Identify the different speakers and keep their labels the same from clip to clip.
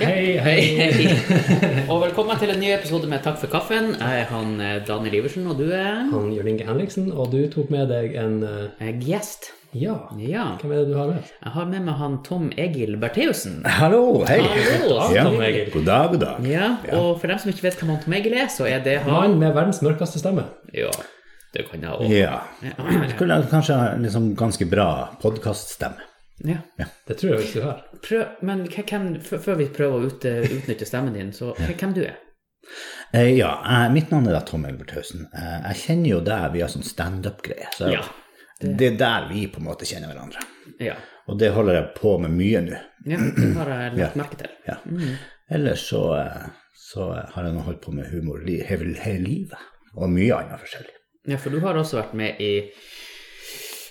Speaker 1: Hei, hei.
Speaker 2: Og velkommen til en ny episode med Takk for kaffen. Jeg er han eh, Daniel Iversen, og du er
Speaker 1: Han Jørn Inge Henriksen, og du tok med deg en eh,
Speaker 2: Jeg er gjest.
Speaker 1: Ja.
Speaker 2: Ja.
Speaker 1: Hvem er det du har med?
Speaker 2: Jeg har med meg han Tom Egil Bertheussen.
Speaker 3: Hallo, hei.
Speaker 2: Hallo,
Speaker 3: Ja.
Speaker 2: Tom Egil.
Speaker 3: God dag, god dag.
Speaker 2: Ja, og for dem som ikke vet hvem han Tom Egil er, så er det han
Speaker 1: Mannen med verdens mørkeste stemme.
Speaker 2: Ja, det kan jeg òg.
Speaker 3: Ja. Skulle jeg kanskje ha en liksom ganske bra podkaststemme.
Speaker 2: Ja.
Speaker 1: Det tror jeg ikke du har.
Speaker 2: Prøv, men hva- hvem, f- før vi prøver å ut, eh, utnytte stemmen din, så hva- hvem du er?
Speaker 3: Eh, ja, eh, mitt navn er da Tom Elberthausen. Eh, jeg kjenner jo deg via sånn standup-greie. Så
Speaker 2: Ja.
Speaker 3: det er der vi på en måte kjenner hverandre.
Speaker 2: Ja.
Speaker 3: Og det holder jeg på med mye nå.
Speaker 2: ja det har jeg lagt
Speaker 3: Ja.
Speaker 2: merke til.
Speaker 3: Ja.
Speaker 2: Mm.
Speaker 3: Ellers så, eh, så har jeg nå holdt på med humor li hele, hele livet. Og mye annet forskjellig.
Speaker 2: Ja, for du har også vært med i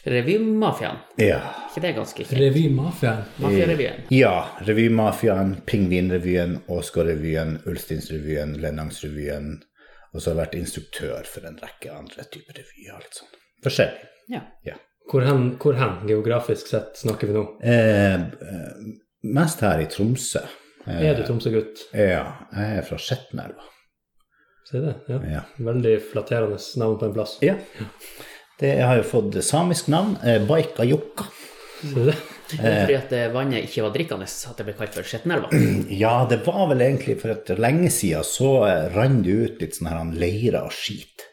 Speaker 2: Revymafiaen.
Speaker 3: Ja.
Speaker 2: ikke det ganske kjent?
Speaker 1: Revymafiaen.
Speaker 2: Mafiarevyen.
Speaker 3: Ja, Revymafiaen, Pingvinrevyen, Åsgårdrevyen, Ulsteinsrevyen, Lennangsrevyen. Og så har jeg vært instruktør for en rekke andre typer revyer. litt sånn. Forskjellig.
Speaker 2: Ja.
Speaker 3: ja.
Speaker 1: Hvor hen, hvor hen, geografisk sett, snakker vi nå?
Speaker 3: Eh, eh, mest her i Tromsø. Eh,
Speaker 1: Er du Tromsø-gutt?
Speaker 3: ja, jeg er fra Skjetnelva.
Speaker 1: Si det. Ja.
Speaker 3: Ja.
Speaker 1: Veldig flatterende navn på en plass.
Speaker 3: Ja. Det, jeg har jo fått samisk navn, eh, Baikajokka.
Speaker 1: Si det.
Speaker 2: Det er fordi at eh, vannet ikke var drikkende, at det ble kalt for Skjetnelva.
Speaker 3: Ja, det var vel egentlig for at lenge siden så eh, rann det ut litt sånn her han leira og skit.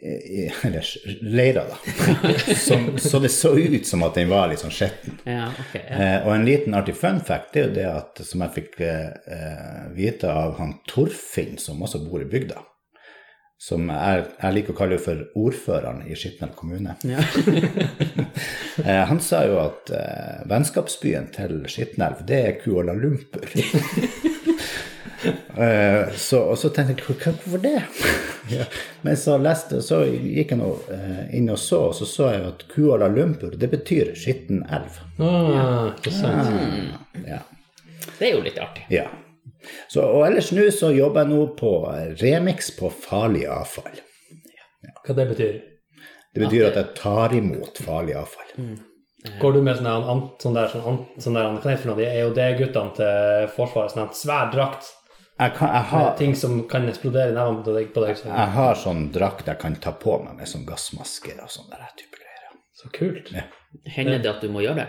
Speaker 3: Eh, eh, Eller sk- leira, da. Som, så det så ut som at den var litt sånn skitten.
Speaker 2: Ja, ok. Ja.
Speaker 3: Eh, og en liten artig fun fact det er jo det at, som jeg fikk eh, eh, vite av han Torfinn, som også bor i bygda. Som jeg, jeg liker å kalle for ordføreren i Skitnelv kommune.
Speaker 2: Ja.
Speaker 3: Eh, han sa jo at eh, vennskapsbyen til Skitnelv, det er Kuala Lumpur. Eh, så, og så tenkte jeg "Hvor- hva- hvorfor det? Men så leste så gikk jeg nå eh, inn og så, og så så jeg at Kuala Lumpur, det betyr skitten elv.
Speaker 1: Ah, ikke sant.
Speaker 3: Ja.
Speaker 2: Det er jo litt artig.
Speaker 3: Ja. Så, og ellers nå så jobber jeg nå på remix på farlig avfall.
Speaker 1: Hva det betyr?
Speaker 3: Det betyr at jeg tar imot farlig avfall.
Speaker 1: Går du med sånn der, an- sånn der, sånn, an- sånn der hva heter det for noe? De er jo det guttene til Forsvaret. Sånn her svær drakt.
Speaker 3: Jeg, kan, jeg,
Speaker 1: med
Speaker 3: har,
Speaker 1: Ting som kan eksplodere i nevnene på deg. På deg så.
Speaker 3: jeg har sånn drakt jeg kan ta på meg med sånn gassmaske og sånn der type greier.
Speaker 1: så kult.
Speaker 2: Hender det at du må gjøre det?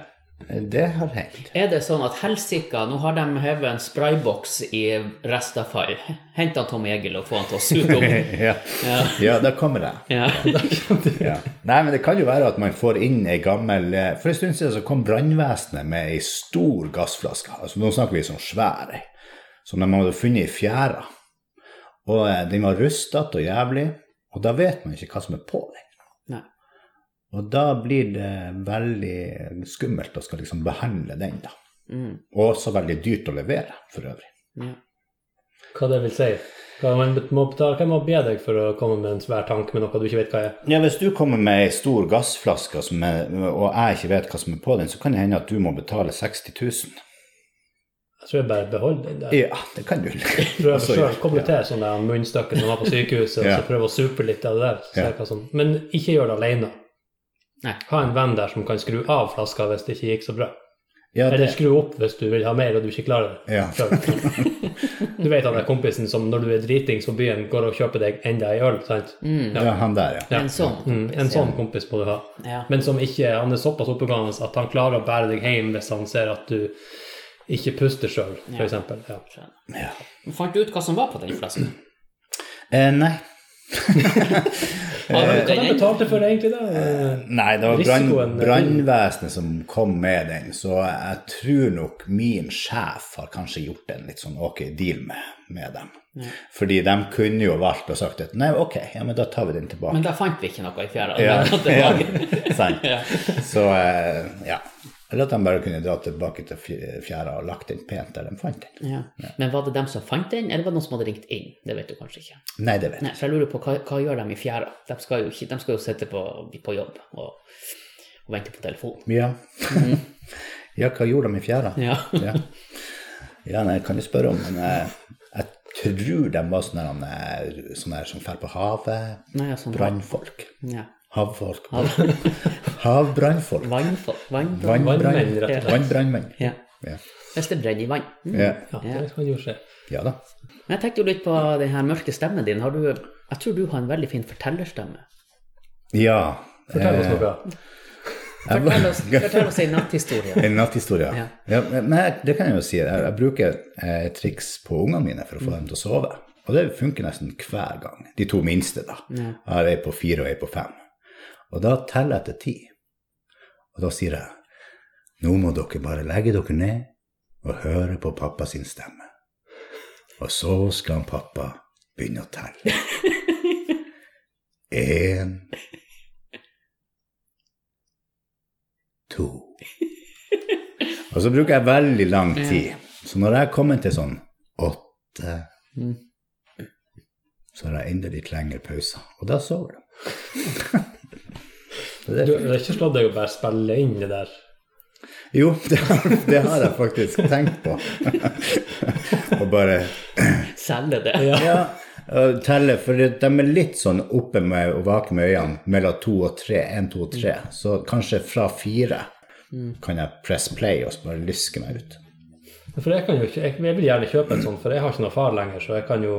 Speaker 3: Det har hendt.
Speaker 2: Er det sånn at helsika, nå har de hevet en sprayboks i restavfall. Hent han Tom Egil og få han til å suge opp.
Speaker 3: Ja. ja, da kommer jeg.
Speaker 2: Ja.
Speaker 3: Ja. Nei, men det kan jo være at man får inn ei gammel eh, For en stund siden så kom brannvesenet med ei stor gassflaske. Altså, nå snakker vi sånn svær ei, som de hadde funnet i fjæra. Og eh, den var rustete og jævlig, og da vet man ikke hva som er på den.
Speaker 2: Nei.
Speaker 3: Og da blir det veldig skummelt å skal liksom behandle den, da.
Speaker 2: Mm.
Speaker 3: Og også veldig dyrt å levere, for øvrig.
Speaker 2: Ja.
Speaker 1: Hva det vil si? Hva man må betale, hva man må be deg for å komme med en svær tank med noe du ikke vet hva er?
Speaker 3: Ja, Hvis du kommer med ei stor gassflaske som er, og jeg ikke vet hva som er på den, så kan det hende at du må betale 60 000.
Speaker 1: Jeg tror jeg bare beholder den der.
Speaker 3: Ja, det kan du.
Speaker 1: Prøv
Speaker 3: Altså,
Speaker 1: selv, koble til sånn der munnstøkket som var på sykehuset,
Speaker 3: Ja.
Speaker 1: og så prøv å supe litt av det der. så ser jeg hva som- Men ikke gjør det alene.
Speaker 2: Nei.
Speaker 1: Ha en venn der som kan skru av flaska hvis det ikke gikk så bra.
Speaker 3: Ja,
Speaker 1: Eller
Speaker 3: det,
Speaker 1: skru opp hvis du vil ha mer og du ikke klarer det.
Speaker 3: Ja.
Speaker 1: Selv. Du vet han der kompisen som når du er dritings på byen, går og kjøper deg enda ei øl, sant?
Speaker 3: ja, han der, ja.
Speaker 2: En sånn.
Speaker 1: Mm, en sånn kompis må du ha.
Speaker 2: Ja.
Speaker 1: Men som ikke Han er såpass oppegående at han klarer å bære deg hjem hvis han ser at du ikke puster sjøl, f.eks. Ja.
Speaker 2: Skjønner.
Speaker 3: ja.
Speaker 2: Fant du ut hva som var på den flasken?
Speaker 3: Eh, nei.
Speaker 2: Har du
Speaker 1: Hva
Speaker 2: den
Speaker 1: de
Speaker 2: ennå?
Speaker 1: betalte for det, Eh, egentlig? da?
Speaker 3: nei, det var brann-
Speaker 1: Risikoen-
Speaker 3: brannvesenet som kom med den, så jeg tror nok min sjef har kanskje gjort en litt sånn ok deal med, med dem. Fordi de kunne jo valgt og sagt at nei, ok, ja, men da tar vi den tilbake.
Speaker 2: Men da fant vi ikke noe i fjæra.
Speaker 3: Ja,
Speaker 2: Det var-
Speaker 3: ja, sant. Så eh, ja. Eller at de bare kunne dra tilbake til fj- fjæra og lagt den pent der de fant den.
Speaker 2: Ja. Men var det dem som fant den, eller var det noen som hadde ringt inn? Det vet du kanskje ikke.
Speaker 3: Nei, det vet jeg.
Speaker 2: Nei, for jeg lurer på hva, hva gjør de i fjæra? De skal jo, ikke, de skal jo sitte på, på jobb og, og vente på telefon.
Speaker 3: Ja. ja, hva gjorde de i fjæra?
Speaker 2: Ja.
Speaker 3: Mhm. ja. Ja, nei, kan du spørre om, men eh, jeg tror de var sånne, her, eh, sånne her som fer på havet,
Speaker 2: Nei, altså,
Speaker 3: brannfolk,
Speaker 2: Ja.
Speaker 3: havfolk, havbrannfolk,
Speaker 2: Vannfall. Vannfall.
Speaker 3: vannbrannmenn,
Speaker 1: Vannmenn, rett og slett.
Speaker 3: vannbrannmenn.
Speaker 2: Ja.
Speaker 3: Ja.
Speaker 2: Hvis det brenner i vann. Mm.
Speaker 3: Ja.
Speaker 1: Ja, det kan jo skje.
Speaker 3: ja da.
Speaker 2: Men Jeg tenkte jo litt på den her mørke stemmen din. Har du, jeg tror du har en veldig fin fortellerstemme.
Speaker 3: Ja. Eh,
Speaker 1: Fortell oss noe.
Speaker 2: Fortell oss, fortell oss en natthistorie.
Speaker 3: En natthistorie.
Speaker 2: Ja.
Speaker 3: Ja. men- men jeg- det kan jeg jo si. Jeg, jeg bruker eh, triks på ungene mine for å få dem til å sove. Og det funker nesten hver gang. De to minste, da. Jeg har ei på fire og ei på fem. Og da teller jeg til ti. Og da sier jeg nå må dere bare legge dere ned og høre på pappa sin stemme. Og så skal han pappa begynne å telle. Én To. Og så bruker jeg veldig lang tid. Så når jeg kommer til sånn åtte,
Speaker 2: Mm.
Speaker 3: så har jeg enda litt lengre pauser. Og da sover de. Så det
Speaker 1: Du
Speaker 3: er
Speaker 1: det er ikke slått deg å bare spille inn det der.
Speaker 3: Jo, det har, det har jeg faktisk tenkt på. Og bare
Speaker 2: Selge det.
Speaker 3: Ja, og telle, for de er litt sånn oppe med og vake med øynene mellom to og tre, en, to og tre. Så kanskje fra fire kan jeg press play og så bare lyske meg ut.
Speaker 1: For jeg kan jo ikke, jeg, jeg vil gjerne kjøpe en sånn, for jeg har ikke noen far lenger, så jeg kan jo,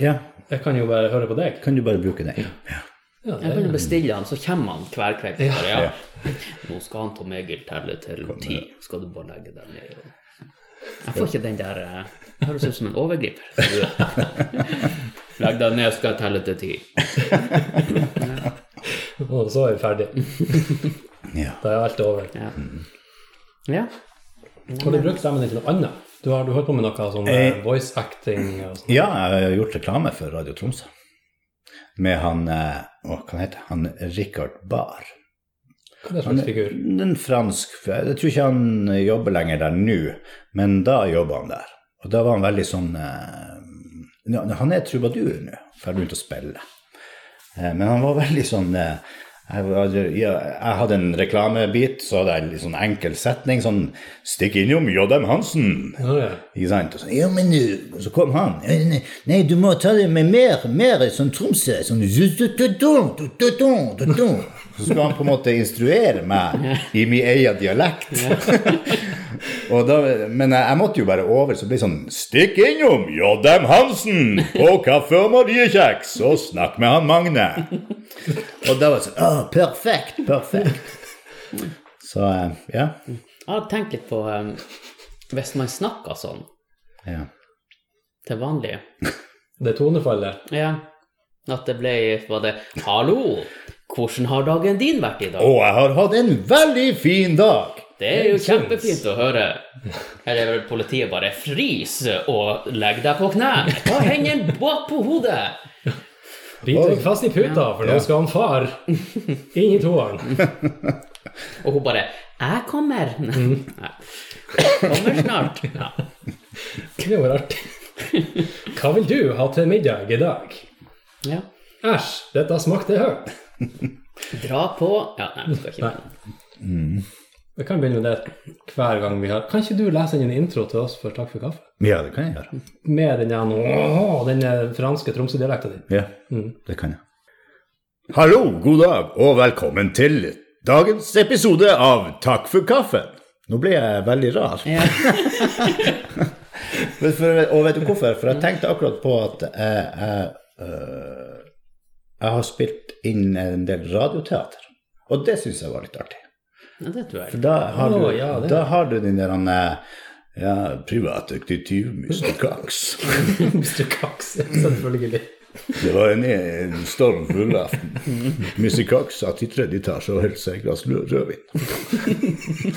Speaker 3: Ja,
Speaker 1: jeg kan jo bare høre på deg.
Speaker 3: kan du bare bruke det? Ja.
Speaker 1: Ja,
Speaker 2: Jeg
Speaker 1: det,
Speaker 2: begynner å bestille han, så kommer han hver kveld. Bare,
Speaker 3: Ja.
Speaker 2: ja. Nå skal han Tom Egil telle til ti, skal du bare legge deg ned. og- Jeg får ikke den der eh, Det høres ut som en overgriper. Legg deg ned, skal jeg telle til ti.
Speaker 1: og så er vi ferdig.
Speaker 3: ja.
Speaker 1: Da er alt over.
Speaker 2: Ja. ja.
Speaker 1: Har du brukt stemmen din til noe annet? Du har du holdt på med noe sånn eh, voice acting og sånn.
Speaker 3: Ja, jeg har gjort reklame for Radio Tromsø. Med han eh, Å, hva heter han? Han Richard Bahr.
Speaker 1: Hva er det slags figur?
Speaker 3: En fransk Jeg tror ikke han jobber lenger der nå, men da jobba han der. Og da var han veldig sånn eh, ja, Han er trubadur nå, for han begynte å spille. Eh, Men han var veldig sånn eh, jeg, var- ja, jeg hadde en reklamebit, så hadde jeg en litt sånn enkel setning sånn Stikk innom J.M. Hansen.
Speaker 1: Ja, ja.
Speaker 3: Ikke sant? Og så, ja, men, eh», så kom han. «Ja, Nei, nei, du må ta det med mer, mer sånn Tromsø. Sånn «zu, zu, zu, zu, zu, zu, zu, zu, zu». Så skulle han på en måte instruere meg i min egen dialekt. Og da, men jeg, jeg måtte jo bare over, så det ble sånn Stikk innom J.M. Hansen på Kafé Mariekjeks og snakk med han Magne. Og da var det sånn Å, perfekt, perfekt. Så eh, ja.
Speaker 2: Jeg har tenkt litt på eh, Hvis man snakker sånn
Speaker 3: ja.
Speaker 2: til vanlig
Speaker 1: Det tonefallet.
Speaker 2: Ja, at det ble Var det 'Hallo, hvordan har dagen din vært i dag?'
Speaker 3: Og jeg har hatt en veldig fin dag.
Speaker 2: Det er jo
Speaker 1: Det syns.
Speaker 2: kjempefint å høre. Eller vel politiet bare 'Frys og legg deg på knær'. Ta hendene bak på hodet.
Speaker 1: Bit deg fast i puta, for nå skal han far inn i toeren.
Speaker 2: Og hun bare 'Jeg kommer'. Nei. Kommer snart. Ja.
Speaker 1: Det var artig. Hva vil du ha til middag i dag?
Speaker 2: ja.
Speaker 1: Æsj, dette smakte høyt.
Speaker 2: Dra på Ja, nei, vi skal ikke
Speaker 1: Nei. Vi kan begynne med det hver gang vi har Kan ikke du lese inn en intro til oss for Takk for kaffe?
Speaker 3: Ja, det kan jeg gjøre.
Speaker 1: Med den der «Åh», den der franske Tromsø-dialekta di.
Speaker 3: Ja, det kan jeg. Hallo, god dag, og velkommen til dagens episode av Takk for kaffen. Nå ble jeg veldig rar.
Speaker 2: Ja.
Speaker 3: Men for, og vet du hvorfor? For jeg tenkte akkurat på at jeg, jeg, øh, jeg har spilt inn en del radioteater. Og det syns jeg var litt artig.
Speaker 2: Ja, det tror jeg.
Speaker 3: For da har du,
Speaker 1: Å, ja, det-
Speaker 3: da har du den der eh, ja, privatdetektiv Mr. Cox.
Speaker 1: Mr. Cox, selvfølgelig.
Speaker 3: Det var en, en stormfull aften. Mr. Cox satt i tredje etasje og helte seg et glass lø- rødvin.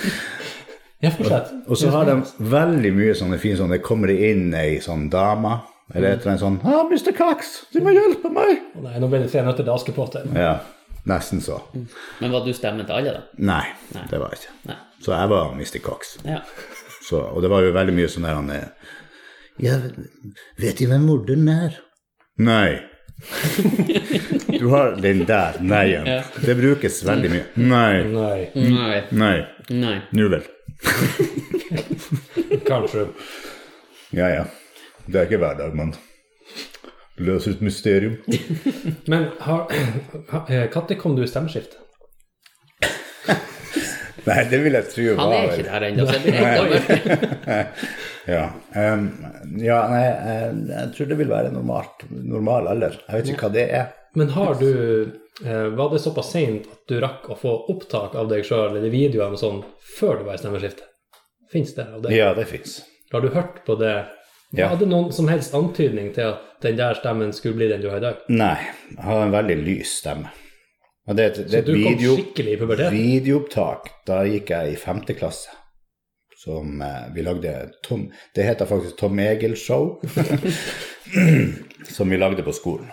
Speaker 1: Ja, fortsett.
Speaker 3: Og så har de veldig mye sånne fine sånne Det kommer det inn ei sånn dame eller et eller annet sånn ah, 'Mr. Cox, du må hjelpe meg!'
Speaker 1: Å Nei, nå ble det tre nøtter til Askepott. her.
Speaker 3: Ja, nesten så.
Speaker 2: Men var du stemmen til alle, da?
Speaker 3: Nei, det var jeg ikke.
Speaker 2: Nei.
Speaker 3: Så jeg var Mr. Cox.
Speaker 2: Ja.
Speaker 3: Så, og det var jo veldig mye sånn der han eh, Ja, vet De hvem morderen er? Nei. Du har den der nei-en. Det brukes veldig mye. Nei.
Speaker 1: Nei,
Speaker 2: Nei.
Speaker 3: Nei.
Speaker 2: Nei.
Speaker 3: Nu vel.
Speaker 1: kanskje.
Speaker 3: Ja, ja. Det er ikke hver dag man løser et mysterium.
Speaker 1: Men har, ha- eh, når kom du i stemmeskift?
Speaker 3: Nei, det vil jeg tro
Speaker 2: Han
Speaker 3: var
Speaker 2: er ikke der ennå, så jeg blir redd over
Speaker 3: Ja. Ehm, ja, nei, eh, jeg tror det vil være normalt, normal alder. Jeg vet ikke hva det er.
Speaker 1: Men har du eh, Var det såpass seint at du rakk å få opptak av deg sjøl eller videoer eller sånn før du var i stemmeskiftet? Fins det av det?
Speaker 3: Ja, det fins.
Speaker 1: Har du hørt på det?
Speaker 3: Ja.
Speaker 1: Hadde noen som helst antydning til at den der stemmen skulle bli den du har i dag?
Speaker 3: Nei, jeg har en veldig lys stemme. Og det, er et- det
Speaker 1: Så
Speaker 3: er et
Speaker 1: du kom
Speaker 3: video,
Speaker 1: skikkelig i puberteten?
Speaker 3: videoopptak. Da gikk jeg i femte klasse. Som eh, vi lagde Tom Det heter faktisk Tom Egil Show. som vi lagde på skolen.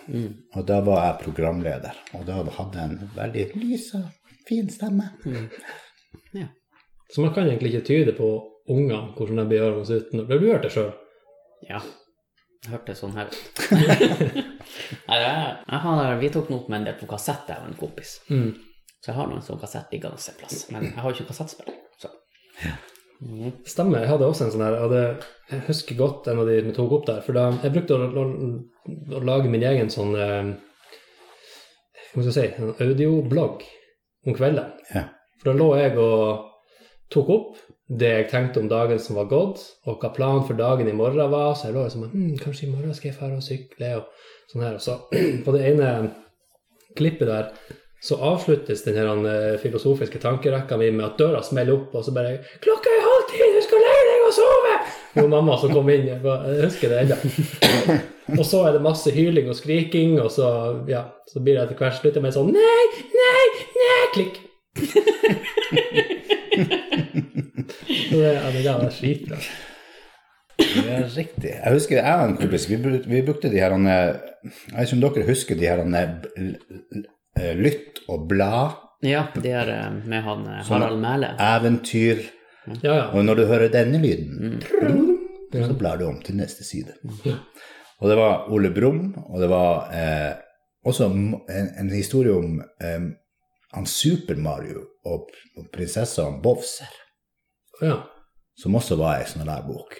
Speaker 3: Og da var jeg programleder. Og da hadde jeg en veldig lys og fin stemme.
Speaker 2: Ja.
Speaker 1: Så man kan egentlig ikke tyde på ungene hvordan de blir hørende ut. når- Har du hørt det sjøl?
Speaker 2: Ja. Hørtes sånn her ut. Nei, jeg, jeg har, vi tok noe med en del på kassett, jeg og en kompis.
Speaker 1: Mm.
Speaker 2: Så jeg har noen sånn kassett liggende en plass. Men jeg har jo ikke kassettspiller. Så. Mhm.
Speaker 1: Stemmer. Jeg hadde også en sånn her. og det- Jeg husker godt en av de vi tok opp der. For da, jeg brukte å, å, å lage min egen sånn eh, Hva skal jeg si en audioblogg om kvelden.
Speaker 3: Ja.
Speaker 1: For da lå jeg og tok opp det jeg tenkte om dagen som var gått, og hva planen for dagen i morgen var. Så jeg lå liksom hm, Kanskje i morgen skal jeg dra og sykle, og sånn her. Og så på det ene klippet der så avsluttes den her eh, filosofiske tankerekka mi med at døra smeller opp, og så bare 'Klokka er halv ti, du skal lære deg å sove!' Og mamma som kom inn. Jeg bare- jeg husker det ennå. Og så er det masse hyling og skriking, og så, ja, så blir det etter hvert slutter med sånn 'Nei, nei, nei!' Klikk. Så det, ja, det der var skitbra.
Speaker 3: Det er riktig. Jeg husker jeg og en kompis, vi, bruk, vi brukte de her han, eh, Jeg vet ikke om dere husker de her han, eh, l- l- eh, Lytt og blad,
Speaker 2: Ja, det er eh, med han eh, Harald Mæle.
Speaker 3: eventyr
Speaker 1: Ja, ja.
Speaker 3: Og når du hører denne lyden, så blar du om til neste side. Og det var Ole Brumm, og det var eh, også en, en historie om eh, han Super-Mario og, og prinsessa Bowser,
Speaker 1: ja.
Speaker 3: som også var ei sånn der bok.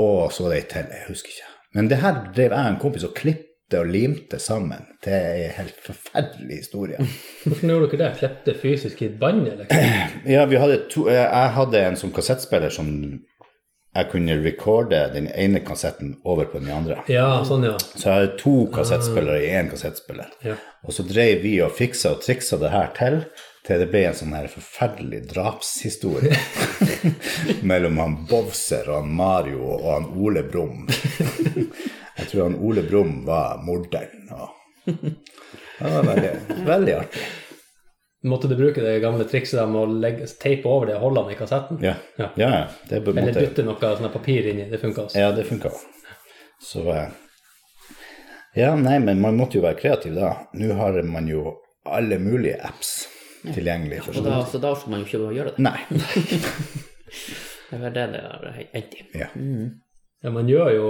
Speaker 3: Og så var det ei til, jeg husker ikke. Men det her drev jeg og en kompis og klippte og limte sammen til ei helt forferdelig historie.
Speaker 1: Hvordan gjorde dere det? Klippte fysisk i bandet, liksom?
Speaker 3: Ja, vi hadde to, eh, jeg hadde en som kassettspiller som jeg kunne recorde den ene kassetten over på den andre.
Speaker 1: Ja, sånn, ja.
Speaker 3: Så jeg hadde to kassettspillere i én kassettspiller.
Speaker 1: Ja.
Speaker 3: Og så drev vi og fiksa og triksa det her til til det ble en sånn her forferdelig drapshistorie mellom han Bowser og han Mario og han Ole Brumm. jeg tror han Ole Brumm var morderen. Og... Det var veldig, veldig artig.
Speaker 1: Måtte du bruke det gamle trikset der med å legge, teipe over det og holde den i kassetten?
Speaker 3: Ja, ja. ja det er på en
Speaker 1: Eller
Speaker 3: måte-
Speaker 1: dytte noe sånn her papir inni. Det altså. funka også.
Speaker 3: Ja, det funka. Så eh, Ja, nei, men man måtte jo være kreativ da. Nå har man jo alle mulige apps tilgjengelig for
Speaker 2: Og
Speaker 3: sånt.
Speaker 2: da, så da får man jo ikke gjøre det.
Speaker 3: Nei.
Speaker 2: Det er eh, vel det det har endt i.
Speaker 3: Ja.
Speaker 1: Ja, man gjør jo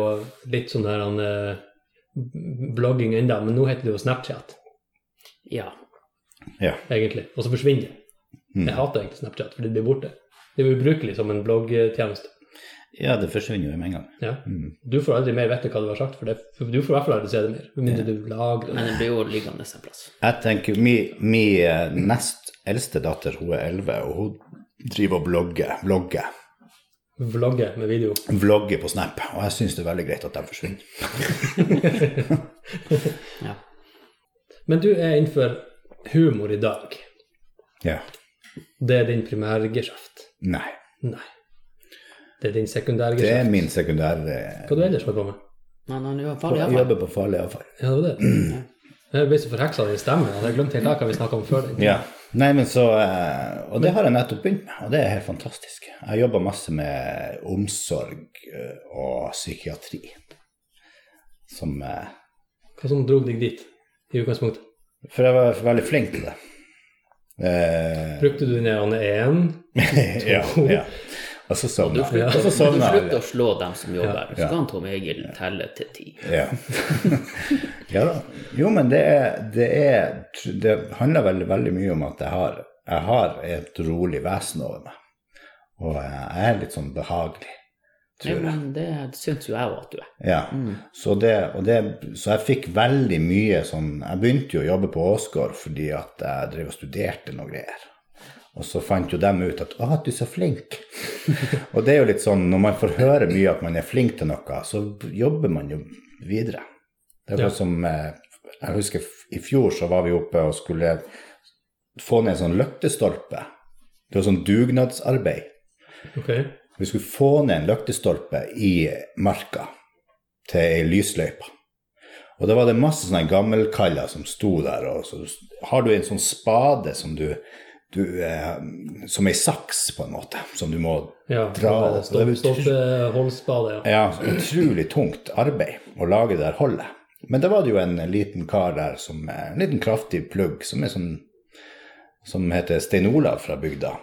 Speaker 1: litt sånn her han, eh, blogging ennå, men nå heter det jo Snapchat,
Speaker 2: Ja.
Speaker 3: ja.
Speaker 1: egentlig. Og så forsvinner det.
Speaker 3: Hmm.
Speaker 1: Jeg hater egentlig Snapchat, for det blir borte. Det er ubrukelig som en bloggtjeneste.
Speaker 3: ja, det forsvinner jo med en gang.
Speaker 1: Ja.
Speaker 3: Hmm.
Speaker 1: Du får aldri mer vite hva du har sagt, for det, for du får i hvert fall aldri se det mer. Med mindre du lager det.
Speaker 2: Men det blir jo liggende en plass.
Speaker 3: Jeg tenker, Min mi eh, nest eldste datter hun er 11, og hun driver og blogger. Blogger
Speaker 1: Vlogge med video.
Speaker 3: Vlogger på Snap, og jeg syns det er veldig greit at de forsvinner.
Speaker 2: Ja.
Speaker 1: Men du er innenfor humor i dag.
Speaker 3: Ja.
Speaker 1: Det er din primærgeskjeft.
Speaker 3: Nei.
Speaker 1: Nei. Det er din
Speaker 3: Det
Speaker 1: sekundærgeskjeft.
Speaker 3: er min sekundære eh,
Speaker 1: Hva du ellers holder på med?
Speaker 2: Men han er jo farlig,
Speaker 3: Jeg
Speaker 2: iallfall.
Speaker 3: jobber på farlig avfall.
Speaker 1: Ja, det var det. Jeg ble så forheksa av din stemme. Jeg hadde glemt helt hva vi snakka om før den.
Speaker 3: Ja. Nei, men så eh, Og det har jeg nettopp begynt med, og det er helt fantastisk. Jeg jobber masse med omsorg eh, og psykiatri. Som eh,
Speaker 1: Hva som drog deg dit i utgangspunktet?
Speaker 3: For jeg var veldig flink til det. Eh,
Speaker 1: Brukte du den ene én?
Speaker 3: ja, ja. Og så
Speaker 2: Du
Speaker 3: sovna jeg.
Speaker 2: slutter,
Speaker 3: Og så sovna
Speaker 2: du slutter
Speaker 3: jeg.
Speaker 2: å slå dem som jobber. Så
Speaker 3: Ja.
Speaker 2: kan Tom Egil telle til ti.
Speaker 3: Ja. ja da. Jo, men det er, det er Det handler veldig, veldig mye om at jeg har, jeg har et rolig vesen over meg. Og jeg er litt sånn behagelig.
Speaker 2: Nei, men det syns jo jeg òg at du er.
Speaker 3: Ja,
Speaker 2: Mm.
Speaker 3: så, det, og det, så jeg fikk veldig mye sånn Jeg begynte jo å jobbe på Åsgård fordi at jeg drev og studerte noe greier. Og så fant jo dem ut at 'Å, du er så flink'. og det er jo litt sånn når man får høre mye at man er flink til noe, så jobber man jo videre. Det er
Speaker 1: Ja.
Speaker 3: sånn som eh, Jeg husker f- i fjor så var vi oppe og skulle få ned en sånn løktestolpe. Det var sånn dugnadsarbeid.
Speaker 1: Ok.
Speaker 3: Vi skulle få ned en løktestolpe i marka til ei lysløype. Og da var det masse sånne gammelkaller som sto der. Og så har du en sånn spade som du, du eh, Som ei saks, på en måte, som du må
Speaker 1: Ja.
Speaker 3: Dra-
Speaker 1: Stopp, stopp eh, holdsspade, ja.
Speaker 3: Ja, utrolig tungt arbeid å lage det der holdet. Men da var det jo en liten kar der, som, eh, en liten kraftig plugg, som, er sånn, som heter Stein Olav fra bygda.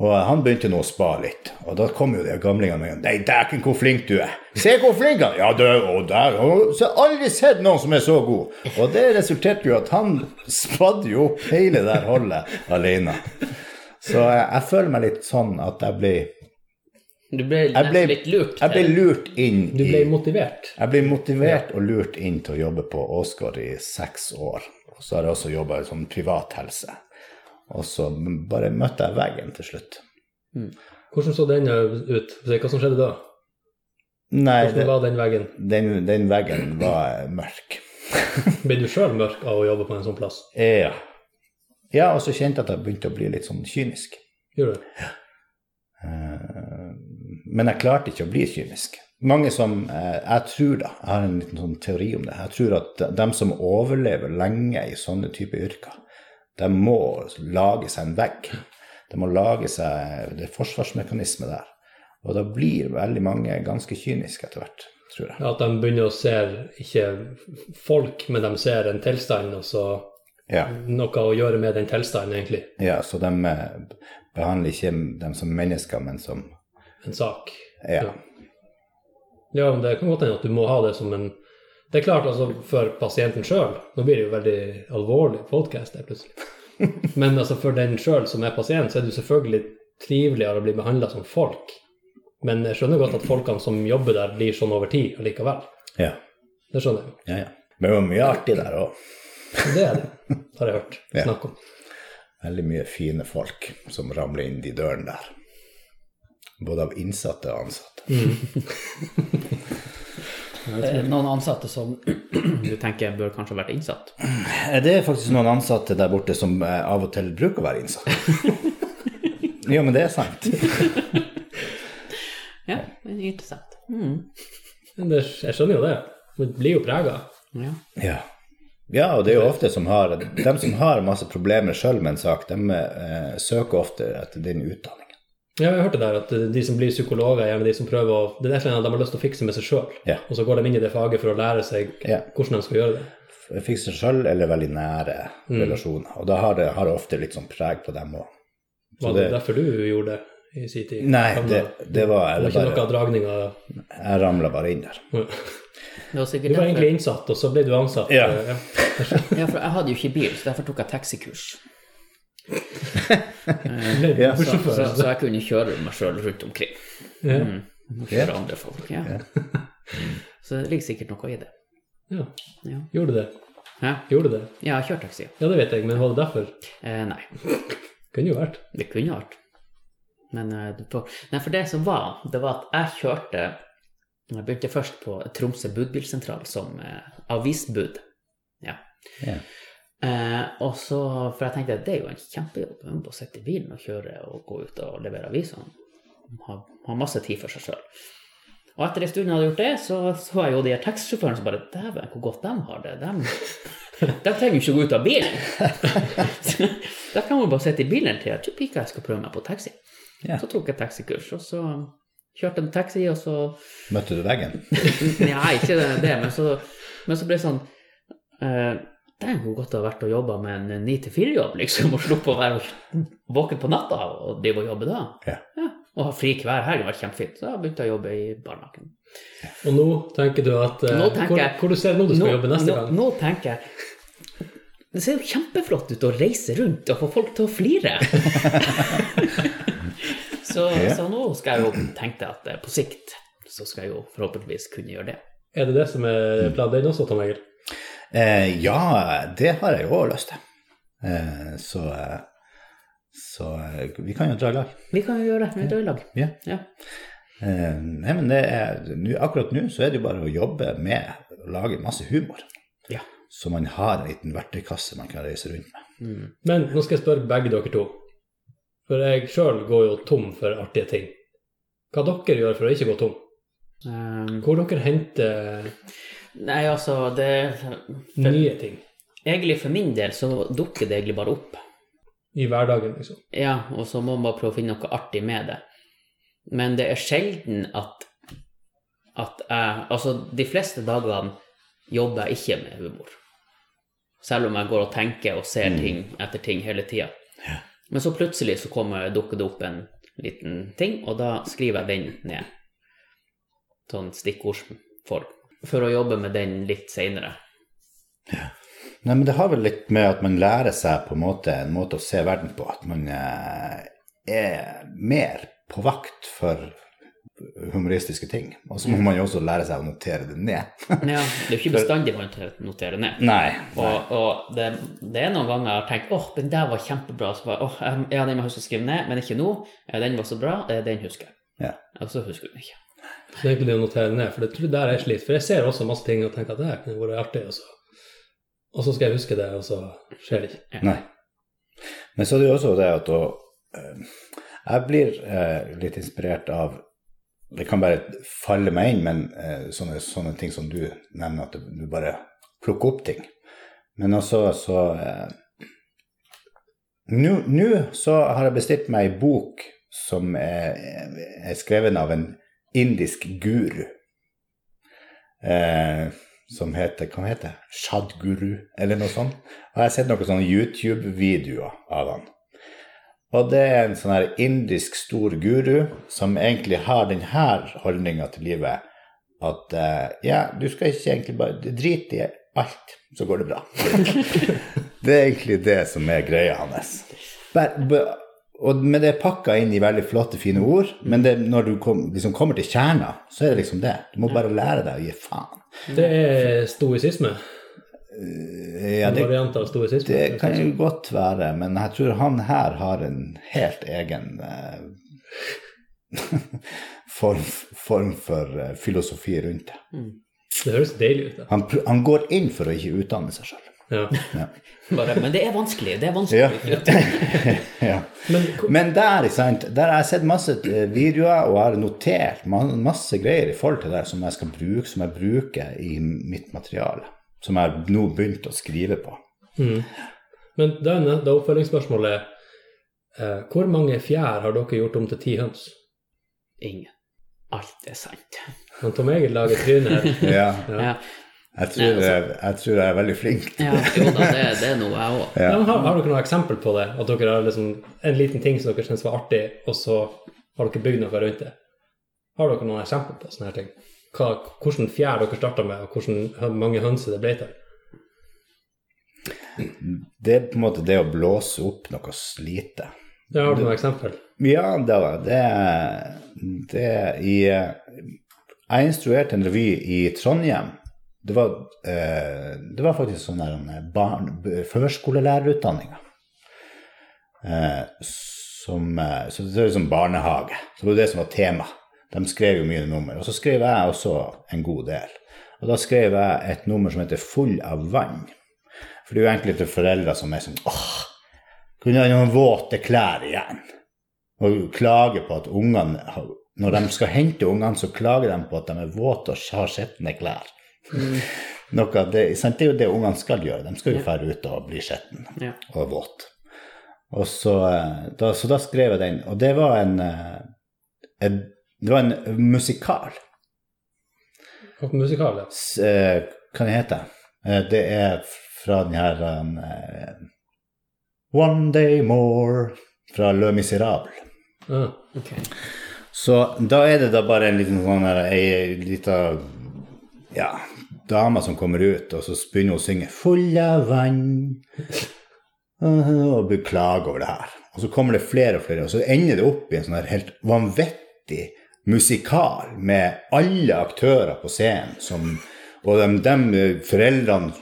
Speaker 3: Og eh, han begynte nå å spa litt, og da kom jo de gamlingene med Nei, dæken, hvor flink du er! Se hvor flink han er! Ja, det, og der, og, så jeg har aldri sett noen som er så god! Og det resulterte jo at han spadde jo opp hele det der holdet alene. Så jeg, jeg føler meg litt sånn at jeg ble,
Speaker 2: Du ble,
Speaker 3: jeg ble
Speaker 2: nesten litt lurt.
Speaker 3: Jeg ble lurt inn
Speaker 1: Du
Speaker 3: i
Speaker 1: ble motivert.
Speaker 3: jeg ble motivert og lurt inn til å jobbe på Åsgård i seks år. Og så har jeg også jobba som privathelse. Og så bare møtte jeg veggen til slutt.
Speaker 1: Hvordan så den eh, ut? Hva som skjedde da?
Speaker 3: Nei, det,
Speaker 1: Hvordan var den veggen?
Speaker 3: den, den veggen var mørk.
Speaker 1: Ble du sjøl mørk av å jobbe på en sånn plass?
Speaker 3: Ja. ja, og så kjente jeg at jeg begynte å bli litt sånn kynisk.
Speaker 1: Gjorde du?
Speaker 3: Eh, Men jeg klarte ikke å bli kynisk. Mange som eh, Jeg tror da, jeg har en liten sånn teori om det. Jeg tror at dem som overlever lenge i sånne type yrker, de må lage seg en vegg. De må lage seg Det er forsvarsmekanisme der. Og da blir veldig mange ganske kyniske etter hvert, tror jeg.
Speaker 1: At de begynner å se ikke folk, men de ser en tilstand, og så
Speaker 3: Ja,
Speaker 1: noe å gjøre med den tilstanden, egentlig.
Speaker 3: ja Så de eh, behandler ikke dem som mennesker, men som
Speaker 1: En sak.
Speaker 3: Ja.
Speaker 1: Ja, men det kan godt hende at du må ha det som en Det er klart, altså, for pasienten sjøl Nå blir det jo veldig alvorlig podkast her plutselig. Men altså, for den sjøl som er pasient, så er det jo selvfølgelig triveligere å bli behandla som folk. Men jeg skjønner godt at folkene som jobber der, blir sånn over tid allikevel.
Speaker 3: Ja,
Speaker 1: Det skjønner jeg jo.
Speaker 3: ja. ja. Men det var mye artig der òg.
Speaker 1: Det er det, har jeg hørt
Speaker 3: Ja.
Speaker 1: snakk om.
Speaker 3: veldig mye fine folk som ramler inn de dørene der. Både av innsatte og ansatte.
Speaker 2: Eh, Noen ansatte som du tenker bør kanskje ha vært innsatt.
Speaker 3: Eh, Det er faktisk noen ansatte der borte som eh, av og til bruker å være innsatt. jo, men det er sant.
Speaker 2: Ja, det er interessant.
Speaker 1: Men det, jeg skjønner jo det. Man blir jo prega.
Speaker 2: Ja.
Speaker 3: Ja. ja, og det er jo ofte som har De som har masse problemer sjøl med en sak, de eh, søker ofte etter din utdanning.
Speaker 1: Ja, jeg hørte der at eh, de som blir psykologer, er gjerne de som prøver å Det er et eller annet de har lyst til å fikse med seg sjøl,
Speaker 3: Ja.
Speaker 1: og så går de inn i det faget for å lære seg
Speaker 3: Ja.
Speaker 1: hvordan de skal gjøre det.
Speaker 3: Fikser sjøl eller veldig nære relasjoner. Og da har det, har det ofte litt sånn preg på dem òg.
Speaker 1: Var det,
Speaker 3: det-
Speaker 1: derfor du gjorde det i sin tid?
Speaker 3: Nei,
Speaker 1: Ramla-
Speaker 3: det,
Speaker 1: det
Speaker 3: det var
Speaker 1: var
Speaker 3: jeg
Speaker 1: ikke noe
Speaker 3: bare
Speaker 1: av dragninga
Speaker 3: Jeg ramla bare inn der.
Speaker 2: Det var
Speaker 1: Du
Speaker 2: sikkert
Speaker 1: var
Speaker 2: derfor,
Speaker 1: egentlig innsatt, og så ble du ansatt.
Speaker 3: Ja.
Speaker 1: Eh,
Speaker 2: ja, for jeg hadde jo ikke bil, så derfor tok jeg taxikurs.
Speaker 1: Ble
Speaker 3: Ja,
Speaker 1: du
Speaker 2: Så, så,
Speaker 1: bussjåfør?
Speaker 2: så jeg kunne kjøre meg sjøl rundt omkring.
Speaker 1: Ja.
Speaker 3: Mm.
Speaker 2: Og Kjøre andre folk. Ja. Så det ligger sikkert noe i det.
Speaker 1: ja.
Speaker 2: Ja.
Speaker 1: Gjorde du det?
Speaker 2: Hæ?
Speaker 1: Gjorde du det?
Speaker 2: Ja, jeg kjører taxi.
Speaker 1: Ja, det vet jeg, men var det derfor?
Speaker 2: Eh, nei.
Speaker 1: Kunne jo vært.
Speaker 2: Det kunne vært. Men eh, det på, nei, for det som var, det var at jeg kjørte Jeg begynte først på Tromsø budbilsentral som eh, avisbud. Ja.
Speaker 3: Ja.
Speaker 2: Eh, og så, For jeg tenkte at det er jo en kjempejobb å bare sitte i bilen og kjøre og gå ut og levere avisene. Ha, ha masse tid for seg sjøl. Og etter en stund jeg hadde gjort det, så så jeg jo de her taxisjåførene som bare Dæven, hvor godt de har det. De, de trenger jo ikke å gå ut av bilen. Så da kan man bare sitte i bilen til at pika, jeg skal prøve meg på taxi.
Speaker 3: Ja.
Speaker 2: Så tok jeg taxikurs, og så kjørte en taxi, og så
Speaker 3: Møtte du veggen?
Speaker 2: Nei, ikke det, det men, så, men så ble det sånn eh, Det er jo godt å ha vært og jobba med en 9-4-jobb, liksom, og sluppet å være våken på natta og drive og jobbe da.
Speaker 3: Ja.
Speaker 2: og ha fri hver helg var kjempefint. Så da begynte jeg å jobbe i barnehagen.
Speaker 1: Og nå tenker du at eh,
Speaker 2: Nå tenker
Speaker 1: hvor,
Speaker 2: jeg-
Speaker 1: hvor du ser nå du skal
Speaker 2: Nå-
Speaker 1: jobbe neste
Speaker 2: nå,
Speaker 1: gang?
Speaker 2: Nå tenker jeg Det ser jo kjempeflott ut å reise rundt og få folk til å flire. så,
Speaker 3: Ja.
Speaker 2: så nå skal jeg jo tenke at eh, på sikt så skal jeg jo forhåpentligvis kunne gjøre det.
Speaker 1: Er det det som
Speaker 3: Mm.
Speaker 1: er planen din også, Tom Egil?
Speaker 3: Eh, ja, det har jeg jo også lyst til. Eh, så eh, Så eh, vi kan jo dra i lag.
Speaker 2: Vi kan jo gjøre det. Vi drar i lag.
Speaker 3: Ja.
Speaker 2: Ja.
Speaker 3: Eh, nei, men det er, nu, akkurat nå så er det jo bare å jobbe med å lage masse humor.
Speaker 2: Ja.
Speaker 3: Så man har en liten verktøykasse man kan reise rundt med.
Speaker 2: Mm.
Speaker 1: Men nå skal jeg spørre begge dere to. For jeg sjøl går jo tom for artige ting. Hva dere gjør for å ikke gå tom?
Speaker 2: Um,
Speaker 1: Hvor dere henter
Speaker 2: nei, altså, det
Speaker 1: nye ting
Speaker 2: Egentlig for min del så dukker det egentlig bare opp.
Speaker 1: i hverdagen, liksom?
Speaker 2: Ja, og så må man bare prøve å finne noe artig med det. Men det er sjelden at at jeg Altså, de fleste dagene jobber jeg ikke med humor. Selv om jeg går og tenker og ser ting etter ting hele tida. Men så plutselig så kommer, dukker det opp en liten ting, og da skriver jeg den ned. Sånn stikkordsform. For å jobbe med den litt seinere.
Speaker 3: Nei, men det har vel litt med at man lærer seg på en måte en måte å se verden på. At man eh, er mer på vakt for humoristiske ting. Og så må man jo også lære seg å notere det ned.
Speaker 2: Ja, det er jo ikke bestandig man noterer ned.
Speaker 3: Nei.
Speaker 2: Og, og det, det er noen ganger jeg har tenkt åh, den der var kjempebra. Så bare, åh, jeg- ja, den må jeg huske å skrive ned, men ikke nå. Ja, Den var så bra, eh, den husker jeg.
Speaker 3: Ja.
Speaker 2: Og så husker du den ikke.
Speaker 1: Så det er egentlig det å notere ned, for det tror jeg der jeg sliter. For jeg ser også masse ting og tenker at det her kunne vært artig, og så, og så skal jeg huske det, og så skjer det ikke.
Speaker 3: Nei. Men så er det jo også det at å eh, Jeg blir eh, litt inspirert av Det kan bare falle meg inn, men eh, sånne, sånne ting som du nevner, at du bare plukker opp ting. Men også så eh, Nå nå så har jeg bestilt meg ei bok som er, er skrevet av en indisk guru. Eh, som heter Hva heter det? Shadguru, eller noe sånt. Og jeg har sett noen sånne YouTube-videoer av han. Og det er en sånn her indisk stor guru som egentlig har denne holdninga til livet at eh, ja, du skal ikke egentlig bare Drit i alt, så går det bra. det er egentlig det som er greia hans. Bare, bare, og, men det er pakka inn i veldig flotte, fine ord. Men det, når du kom, liksom kommer til kjerna, så er det liksom det. Du må bare lære deg å gi faen.
Speaker 1: Det er stoisisme.
Speaker 3: Ja,
Speaker 1: En
Speaker 3: det
Speaker 1: variant av stoisisme.
Speaker 3: Det kan jo godt være, men jeg tror han her har en helt egen eh, form, form for eh, filosofi rundt det.
Speaker 1: Det høres deilig ut. da.
Speaker 3: Han, pr- han går inn for å ikke utdanne seg sjøl.
Speaker 1: Ja.
Speaker 2: Bare, men det er vanskelig. Det er vanskelig.
Speaker 3: Ja. ja.
Speaker 1: Men hvor-
Speaker 3: Men der, ikke sant, der har jeg sett masse eh, videoer og har notert ma- masse greier i forhold til det som jeg skal bruke, som jeg bruker i mitt materiale. Som jeg nå begynt å skrive på.
Speaker 1: mm. men da er ne- da er oppfølgingsspørsmålet eh, Hvor mange fjær har dere gjort om til ti høns?
Speaker 2: Ingen. Alt er sant.
Speaker 1: Han Tom Egil lager trynet her.
Speaker 3: Ja,
Speaker 2: Ja,
Speaker 3: jeg tror, jeg, jeg tror jeg er veldig flink.
Speaker 2: ja jo da, det, det er noe jeg òg.
Speaker 1: Ja, men har, har dere noe eksempel på det? At dere har liksom en liten ting som dere syns var artig, og så har dere bygd noe rundt det? Har dere noen eksempel på sånne her ting? Hva, hvordan fjær dere starta med, og hvordan hø- mange hønser det ble til?
Speaker 3: Det er på en måte det å blåse opp noe slite.
Speaker 1: Ja, har du noen eksempel?
Speaker 3: Ja, det var det, det i eh, Jeg instruerte en revy i Trondheim. Det var, eh, det var faktisk sånn der en barn, b- førskolelærerutdanninga. Eh, som eh, Så det var liksom barnehage. Så det var det som var tema. De skrev jo mye nummer. Og så skrev jeg også en god del. Og da skrev jeg et nummer som heter 'Full av vann'. For det er jo enkelte foreldre som er sånn åh, kunne jeg noen våte klær igjen? Og klager på at ungene har- Når de skal hente ungene, så klager de på at de er våte og har skitne klær.
Speaker 2: Mm,
Speaker 3: Noe av det, sant? det er jo det ungene skal gjøre. De skal jo dra ut og bli skitne
Speaker 2: Ja.
Speaker 3: og våt. Og så, eh, da, så da skrev jeg den, og det var en, eh, en det var en musikal.
Speaker 1: Og musikal, ja.
Speaker 3: S- eh, Hva det heter det? Det er fra den her eh, One Day More fra Le Miserable.
Speaker 1: Ja.
Speaker 2: Ok.
Speaker 3: Så da er det da bare en liten sånn her, ei lita ja, dame som kommer ut, og så begynner hun å synge 'Full av vann' og beklager over det her. Og så kommer det flere og flere, og så ender det opp i en sånn her helt vanvittig musikal med alle aktører på scenen, som, og de, de foreldrene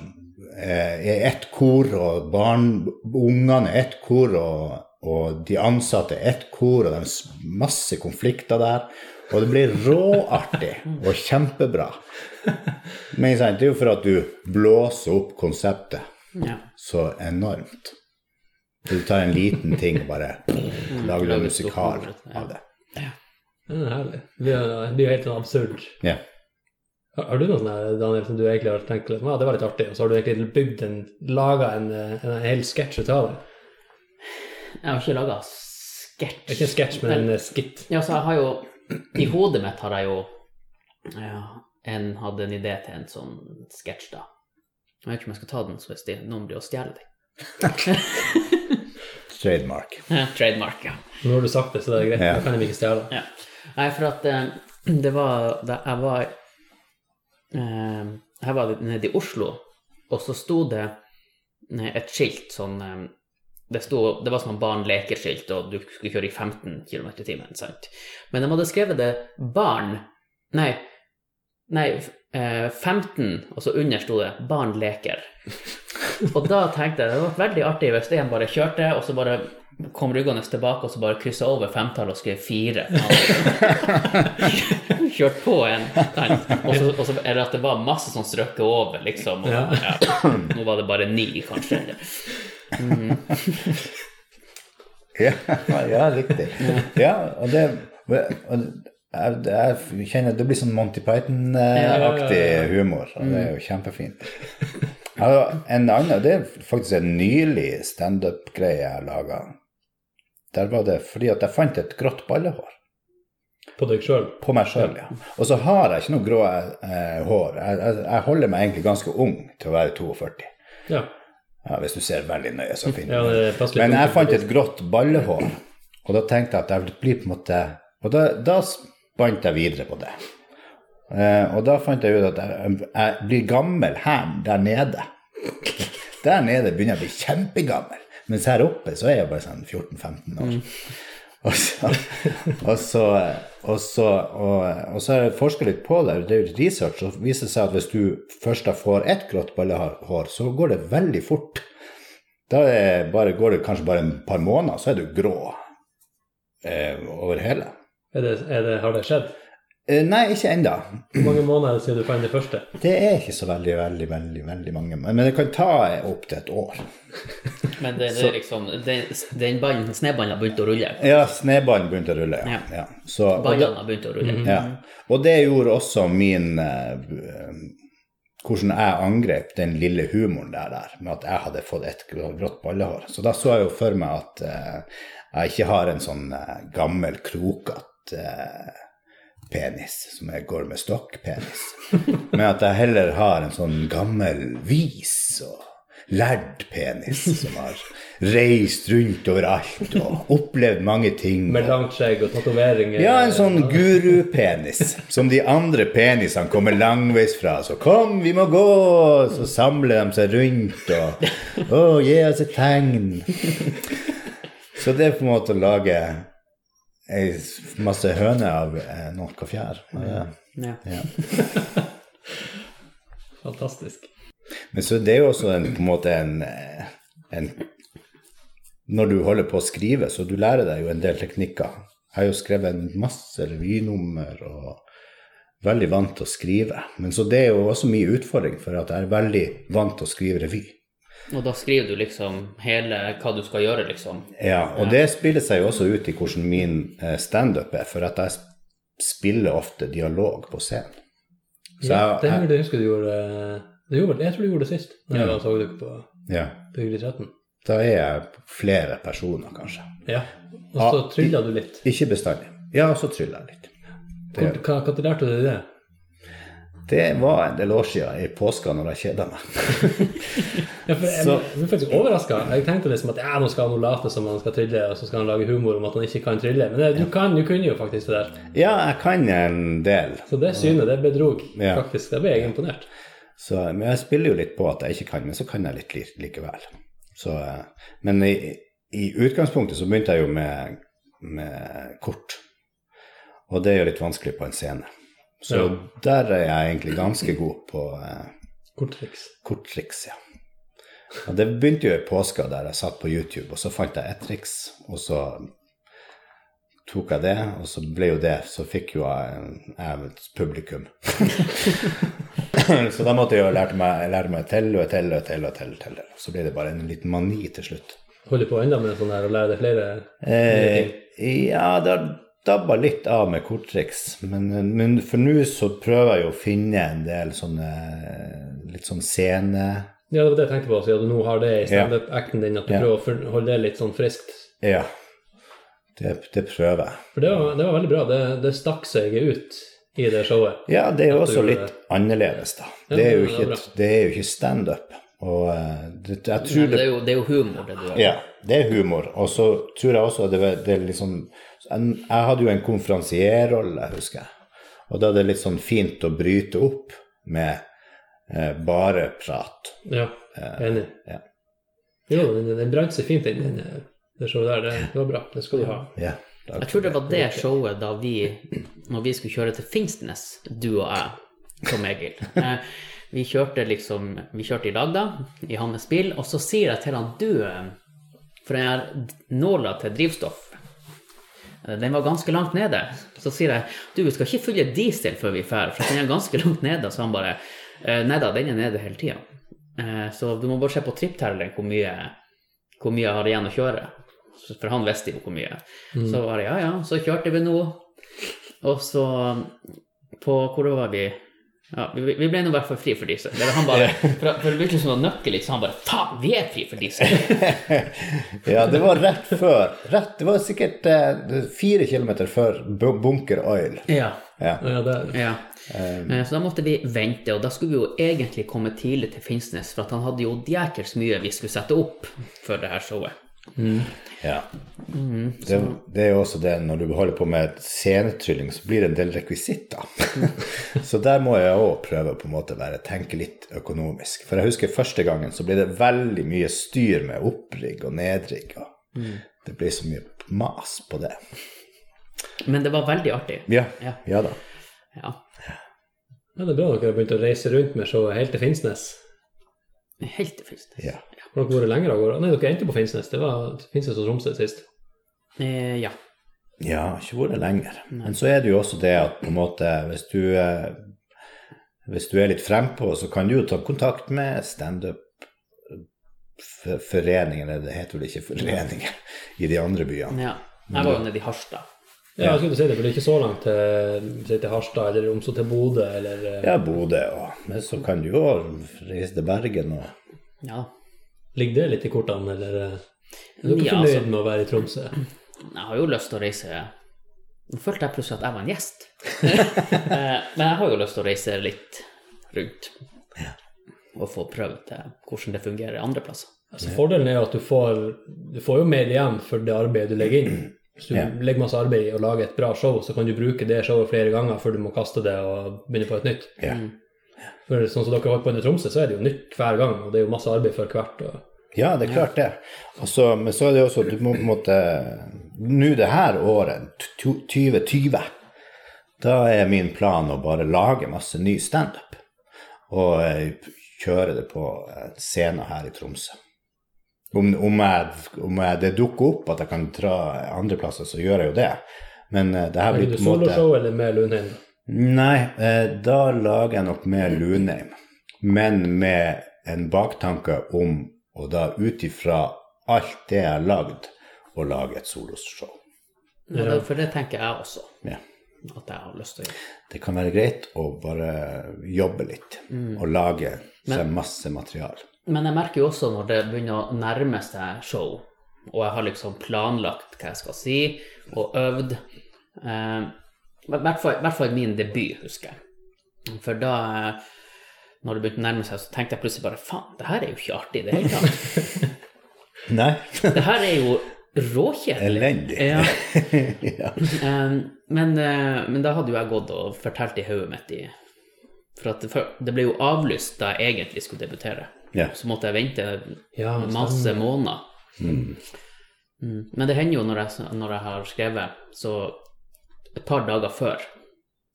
Speaker 3: eh, er ett kor, og barn, ungene er ett kor, og, og de ansatte er ett kor, og det er s- masse konflikter der. Og det blir råartig og kjempebra. Men sant, det er jo for at du blåser opp konseptet
Speaker 2: Ja.
Speaker 3: så enormt. Du tar en liten ting og bare lager
Speaker 2: Lager
Speaker 3: en musikal
Speaker 2: stort nummer, ja.
Speaker 3: av det.
Speaker 1: Det er herlig. Det er det blir jo helt sånn absurd.
Speaker 3: Ja.
Speaker 1: Har, har du noe sånt, der, Daniel, som du egentlig har tenkt liksom, ja, det var litt artig, og så har du egentlig bygd en, laga en, eh, en hel sketsj ut av det?
Speaker 2: Jeg har ikke laga sketsj.
Speaker 1: Ikke en sketsj, men en eh, skit.
Speaker 2: Ja, så jeg har jo I hodet mitt har jeg jo ja, en, hadde en idé til en sånn sketsj, da. Jeg vet ikke om jeg skal ta den så hvis de, noen blir å stjele den.
Speaker 3: Trademark.
Speaker 2: Ja, Trademark, ja.
Speaker 1: Nå har du sagt det, så det er greit.
Speaker 3: Ja.
Speaker 1: Nå kan de ikke stjele.
Speaker 2: ja. Nei, for at eh, det var da jeg var eh, Jeg var litt nede i Oslo, og så sto det eh, et skilt sånn eh, det, sto, det var sånn barn leker-skilt, og du skulle kjøre i 15 km i timen, sant. Men de hadde skrevet det barn Nei, nei eh, 15, og så under sto det 'barn leker'. Og da tenkte jeg det hadde vært veldig artig hvis en bare kjørte, og så bare kom ryggende tilbake og så bare kryssa over femtallet og skrev fire. Kjørt på en. sant? Og så, og så er det at det var masse som strøkket over, liksom. Og,
Speaker 1: Ja.
Speaker 2: ja. Nå var det bare ni, kanskje. Eller.
Speaker 3: Ja, ja riktig. Ja, og det og jeg, jeg kjenner Det blir sånn Monty Python-aktig humor. og Det er jo kjempefint. Jeg har jo En annen, det er faktisk en nylig standup-greie jeg laga. Der var det fordi at jeg fant et grått ballehår
Speaker 1: På deg sjøl.
Speaker 3: på meg sjøl. Ja. Og så har jeg ikke noe grå eh, hår. Jeg, jeg, jeg holder meg egentlig ganske ung til å være 42.
Speaker 1: Ja.
Speaker 3: Ja, hvis du ser veldig nøye, så finner
Speaker 1: ja,
Speaker 3: du det.
Speaker 1: det passer litt.
Speaker 3: Men jeg fant et grått ballehår, og da tenkte jeg at jeg ville bli på en måte Og da, da spant jeg videre på det. Eh, og da fant jeg ut at jeg, jeg blir gammel her der nede. Der nede begynner jeg å bli kjempegammel, mens her oppe så er jeg bare sånn 14-15 år. Og så, og så, og så, og, og så har jeg forsket litt på det, det er jo research, og det viser seg at hvis du først da får ett grått ballehår, så går det veldig fort. Da er bare, går det kanskje bare et par måneder, så er du grå eh, over hele.
Speaker 1: Er det, er det, har det skjedd?
Speaker 3: Eh, nei, ikke ennå.
Speaker 1: Hvor mange måneder siden du fant det første?
Speaker 3: Det er ikke så veldig, veldig, veldig veldig mange. Men det kan ta opptil et år.
Speaker 2: Men det, det er liksom Den, den ballen, snøballen har begynt å rulle.
Speaker 3: Ja, snøballen begynte å rulle, ja.
Speaker 2: Ja.
Speaker 3: ja. Så, og da- Mhm.
Speaker 2: Ballen har begynt å rulle.
Speaker 3: Ja. Og det gjorde også min eh, Hvordan jeg angrep den lille humoren der, der med at jeg hadde fått et grått ballehår. Så da så jeg jo for meg at eh, jeg ikke har en sånn eh, gammel, krokete eh, penis som jeg går med stokkpenis, men at jeg heller har en sånn gammel, vis og lærd penis som har reist rundt overalt og opplevd mange ting.
Speaker 1: Med
Speaker 3: og-
Speaker 1: langt skjegg og tatoveringer?
Speaker 3: ja, en sånn gurupenis som de andre penisene kommer langveis fra. Så kom, vi må gå! Så samler de seg rundt og Å, gi oss et tegn. Så det er på en måte å lage ei s- masse høner av eh, noe fjær. Ja.
Speaker 2: Ja.
Speaker 3: sånn-
Speaker 1: Fantastisk.
Speaker 3: Men så det er jo også en, på en måte en, eh, en Når du holder på å skrive, så du lærer deg jo en del teknikker. Jeg har jo skrevet en masse revynummer og veldig vant til å skrive. Men så det er jo også mye utfordring, for at jeg er veldig vant til å skrive revy.
Speaker 2: Og da skriver du liksom hele hva du skal gjøre, liksom.
Speaker 3: Ja, og det spiller seg jo også ut i hvordan min eh, standup er, for at jeg spiller ofte dialog på scenen. Så
Speaker 1: ja, det
Speaker 3: jeg,
Speaker 1: jeg, jeg husker du gjorde, eh, du gjorde Jeg tror du gjorde det sist, da jeg så dere på
Speaker 3: jeg, ja,
Speaker 1: Bygd i 13.
Speaker 3: da er jeg flere personer, kanskje.
Speaker 1: Ja. Og så
Speaker 3: Ja.
Speaker 1: trylla du litt.
Speaker 3: Ikke bestandig. Ja, så tryller jeg litt.
Speaker 1: Hvor- Hva Når lærte du det?
Speaker 3: Det var en del år siden i påska når jeg kjeda meg.
Speaker 1: Ja, for jeg
Speaker 3: Så-
Speaker 1: jeg ble faktisk overraska. Jeg tenkte liksom at ja, nå skal han jo late som han skal trylle, og så skal han lage humor om at han ikke kan trylle. Men det, du kan, du kunne jo faktisk det der.
Speaker 3: Ja, jeg kan en del,
Speaker 1: Så det synet, det bedrog
Speaker 3: Ja.
Speaker 1: faktisk. Da ble jeg imponert.
Speaker 3: så, men jeg spiller jo litt på at jeg ikke kan, men så kan jeg litt li- likevel. Så, eh, men i, i utgangspunktet så begynte jeg jo med, med kort, og det er jo litt vanskelig på en scene. Så
Speaker 1: Ja.
Speaker 3: der er jeg egentlig ganske god på eh,
Speaker 1: Kort triks.
Speaker 3: korttriks, ja. Og det begynte jo i påska der jeg satt på YouTube, og så fant jeg et triks, og så tok jeg det, og så ble jo det, så fikk jo jeg, jeg et publikum. så da måtte jeg jo lære meg, lære meg til og til og til og til, og til. Så ble det bare en liten mani til slutt.
Speaker 1: Holder på enda med sånn her og lærer deg flere
Speaker 3: Eh, ja, det har dabba litt av med korttriks. Men, men for nå så prøver jeg jo å finne en del sånne eh, litt sånn scene...
Speaker 1: Ja, det var det jeg tenkte på, siden du nå har det i standup-acten din, at du
Speaker 3: Ja.
Speaker 1: prøver å for- holde det litt sånn friskt.
Speaker 3: Ja, det, det prøver jeg.
Speaker 1: For det var, det var veldig bra. Det, det stakk seg ut i det showet.
Speaker 3: Ja, det er jo
Speaker 1: At du
Speaker 3: også
Speaker 1: gjorde
Speaker 3: litt annerledes, da.
Speaker 1: Ja,
Speaker 3: Det er jo
Speaker 1: det er
Speaker 3: ikke,
Speaker 1: bra.
Speaker 3: det er jo ikke standup. Og eh, det, jeg
Speaker 2: Nei,
Speaker 3: tror
Speaker 2: det,
Speaker 3: det
Speaker 2: er jo, det er jo humor, det du gjør.
Speaker 3: Ja, det er humor. Og så tror jeg også at det, var- det er liksom en- Jeg hadde jo en konferansierrolle, husker jeg. Og da er det litt sånn fint å bryte opp med eh, bare prat.
Speaker 1: Ja, enig.
Speaker 3: ja.
Speaker 1: Jo, den, den brant seg fint inn, den, det showet der. Det, det var bra. Det skal du ha.
Speaker 3: Ja. da-
Speaker 2: Jeg tror det var det showet da vi, når vi skulle kjøre til Finnsnes, du og jeg, Tom Egil. Eh, Vi kjørte liksom, vi kjørte i lag da, i hans bil, og så sier jeg til han, du, eh, for den her nåla til drivstoff, eh, den var ganske langt nede. Så sier jeg, du, vi skal ikke fylle diesel før vi drar, for den er ganske langt nede. Så han bare, «Eh, nei da, den er nede hele tida. Så du må bare se på tripptelleren hvor mye hvor mye jeg har igjen å kjøre. Så- For han visste jo hvor mye. Så bare ja, ja, så kjørte vi nå. Og så på Hvor var vi? Ja, vi, vi ble nå i hvert fall fri for diesel. Det var han bare, for, for det virket som det var nøkkel, liksom. Han bare Faen, vi er fri for diesel!
Speaker 3: Ja, det var rett før. Rett, det var sikkert eh, fire kilometer før Bu- Bunker Oil.
Speaker 2: Ja.
Speaker 3: Ja.
Speaker 1: Ja, det,
Speaker 2: ja. Eh, Så da måtte vi vente, og da skulle vi jo egentlig komme tidlig til Finnsnes, for at han hadde jo djekels mye vi skulle sette opp for det her showet.
Speaker 3: Ja. Det, det er jo også det, når du holder på med scenetrylling, så blir det en del rekvisitter. så der må jeg òg prøve å på en måte være, tenke litt økonomisk. For jeg husker første gangen så ble det veldig mye styr med opprigg og nedrigg. Og Det blir så mye mas på det.
Speaker 2: Men det var veldig artig.
Speaker 3: Ja,
Speaker 2: Ja.
Speaker 3: ja da.
Speaker 2: Ja.
Speaker 1: ja, det er bra dere har begynt å reise rundt med showet helt til Finnsnes.
Speaker 2: Helt til Finnsnes.
Speaker 3: Ja.
Speaker 1: Har dere vært lenger av gårde? Nei, dere endte på Finnsnes. Det var Finnsnes og Tromsø sist.
Speaker 2: Eh, ja.
Speaker 3: Ja, ikke vært lenger. Men så er det jo også det at på en måte hvis du, eh, hvis du er litt frempå, så kan du jo ta kontakt med standup-foreningen, eller det heter vel ikke foreninger, i de andre byene.
Speaker 2: ja. Jeg var jo nede i Harstad.
Speaker 1: Ja, jeg skulle si det, for det er ikke så langt til, si til Harstad eller Romsø til Bodø eller eh,
Speaker 3: Ja, Bodø og Men så kan du jo reise til Bergen og
Speaker 2: Ja da.
Speaker 1: Ligger det litt i kortene, eller eh, Er dere
Speaker 2: Ja,
Speaker 1: fornøyd
Speaker 2: altså.
Speaker 1: med å være i Tromsø?
Speaker 2: Jeg har jo lyst til å reise Nå følte jeg plutselig at jeg var en gjest. Eh, Men jeg har jo lyst til å reise litt rundt. Og få prøvd eh, hvordan det fungerer andre plasser.
Speaker 1: Altså, fordelen er jo at du får, du får jo mer igjen for det arbeidet du legger inn. Hvis du
Speaker 3: Ja.
Speaker 1: legger masse arbeid i å lage et bra show, så kan du bruke det showet flere ganger før du må kaste det og begynne på et nytt.
Speaker 3: Ja.
Speaker 1: For sånn som dere holdt på med i Tromsø, så er det jo nytt hver gang, og det er jo masse arbeid for hvert. Og...
Speaker 3: Ja, det er klart det. Og så- men så er det også at du må på en måte Nå det her året, t- 2020, da er min plan å bare lage masse ny standup. Og eh, kjøre det på eh, scenen her i Tromsø. Om, om, jeg, om jeg, det dukker opp at jeg kan dra andre plasser, så gjør jeg jo det. Men eh, det her
Speaker 1: Er
Speaker 3: blir
Speaker 1: det
Speaker 3: på en måte
Speaker 1: soloshow eller med Lundheim?
Speaker 3: Nei, eh, da lager jeg nok mer Lunheim. Men med en baktanke om, og da ut ifra alt det jeg har lagd, å lage et soloshow.
Speaker 2: Ja, det- For det tenker jeg også
Speaker 3: Ja.
Speaker 2: at jeg har lyst til å gjøre.
Speaker 3: Det kan være greit å bare jobbe litt og lage seg masse materiale.
Speaker 2: Men jeg merker jo også når det begynner å nærme seg show, og jeg har liksom planlagt hva jeg skal si, og øvd eh, I hvert fall- i hvert fall min debut, husker jeg. For da, eh, når det begynte å nærme seg, så tenkte jeg plutselig bare faen, det her er jo ikke artig i det hele tatt.
Speaker 3: Nei,
Speaker 2: Det her er jo råkjedelig.
Speaker 3: elendig.
Speaker 2: Ja.
Speaker 3: ja.
Speaker 2: Eh, men, eh, men da hadde jo jeg gått og fortalt i hodet mitt i For at det, før- det ble jo avlyst da jeg egentlig skulle debutere.
Speaker 3: Ja.
Speaker 2: Så måtte jeg vente
Speaker 1: Ja,
Speaker 2: masse måneder. Mm. Men det hender jo når jeg, når jeg har skrevet, så et par dager før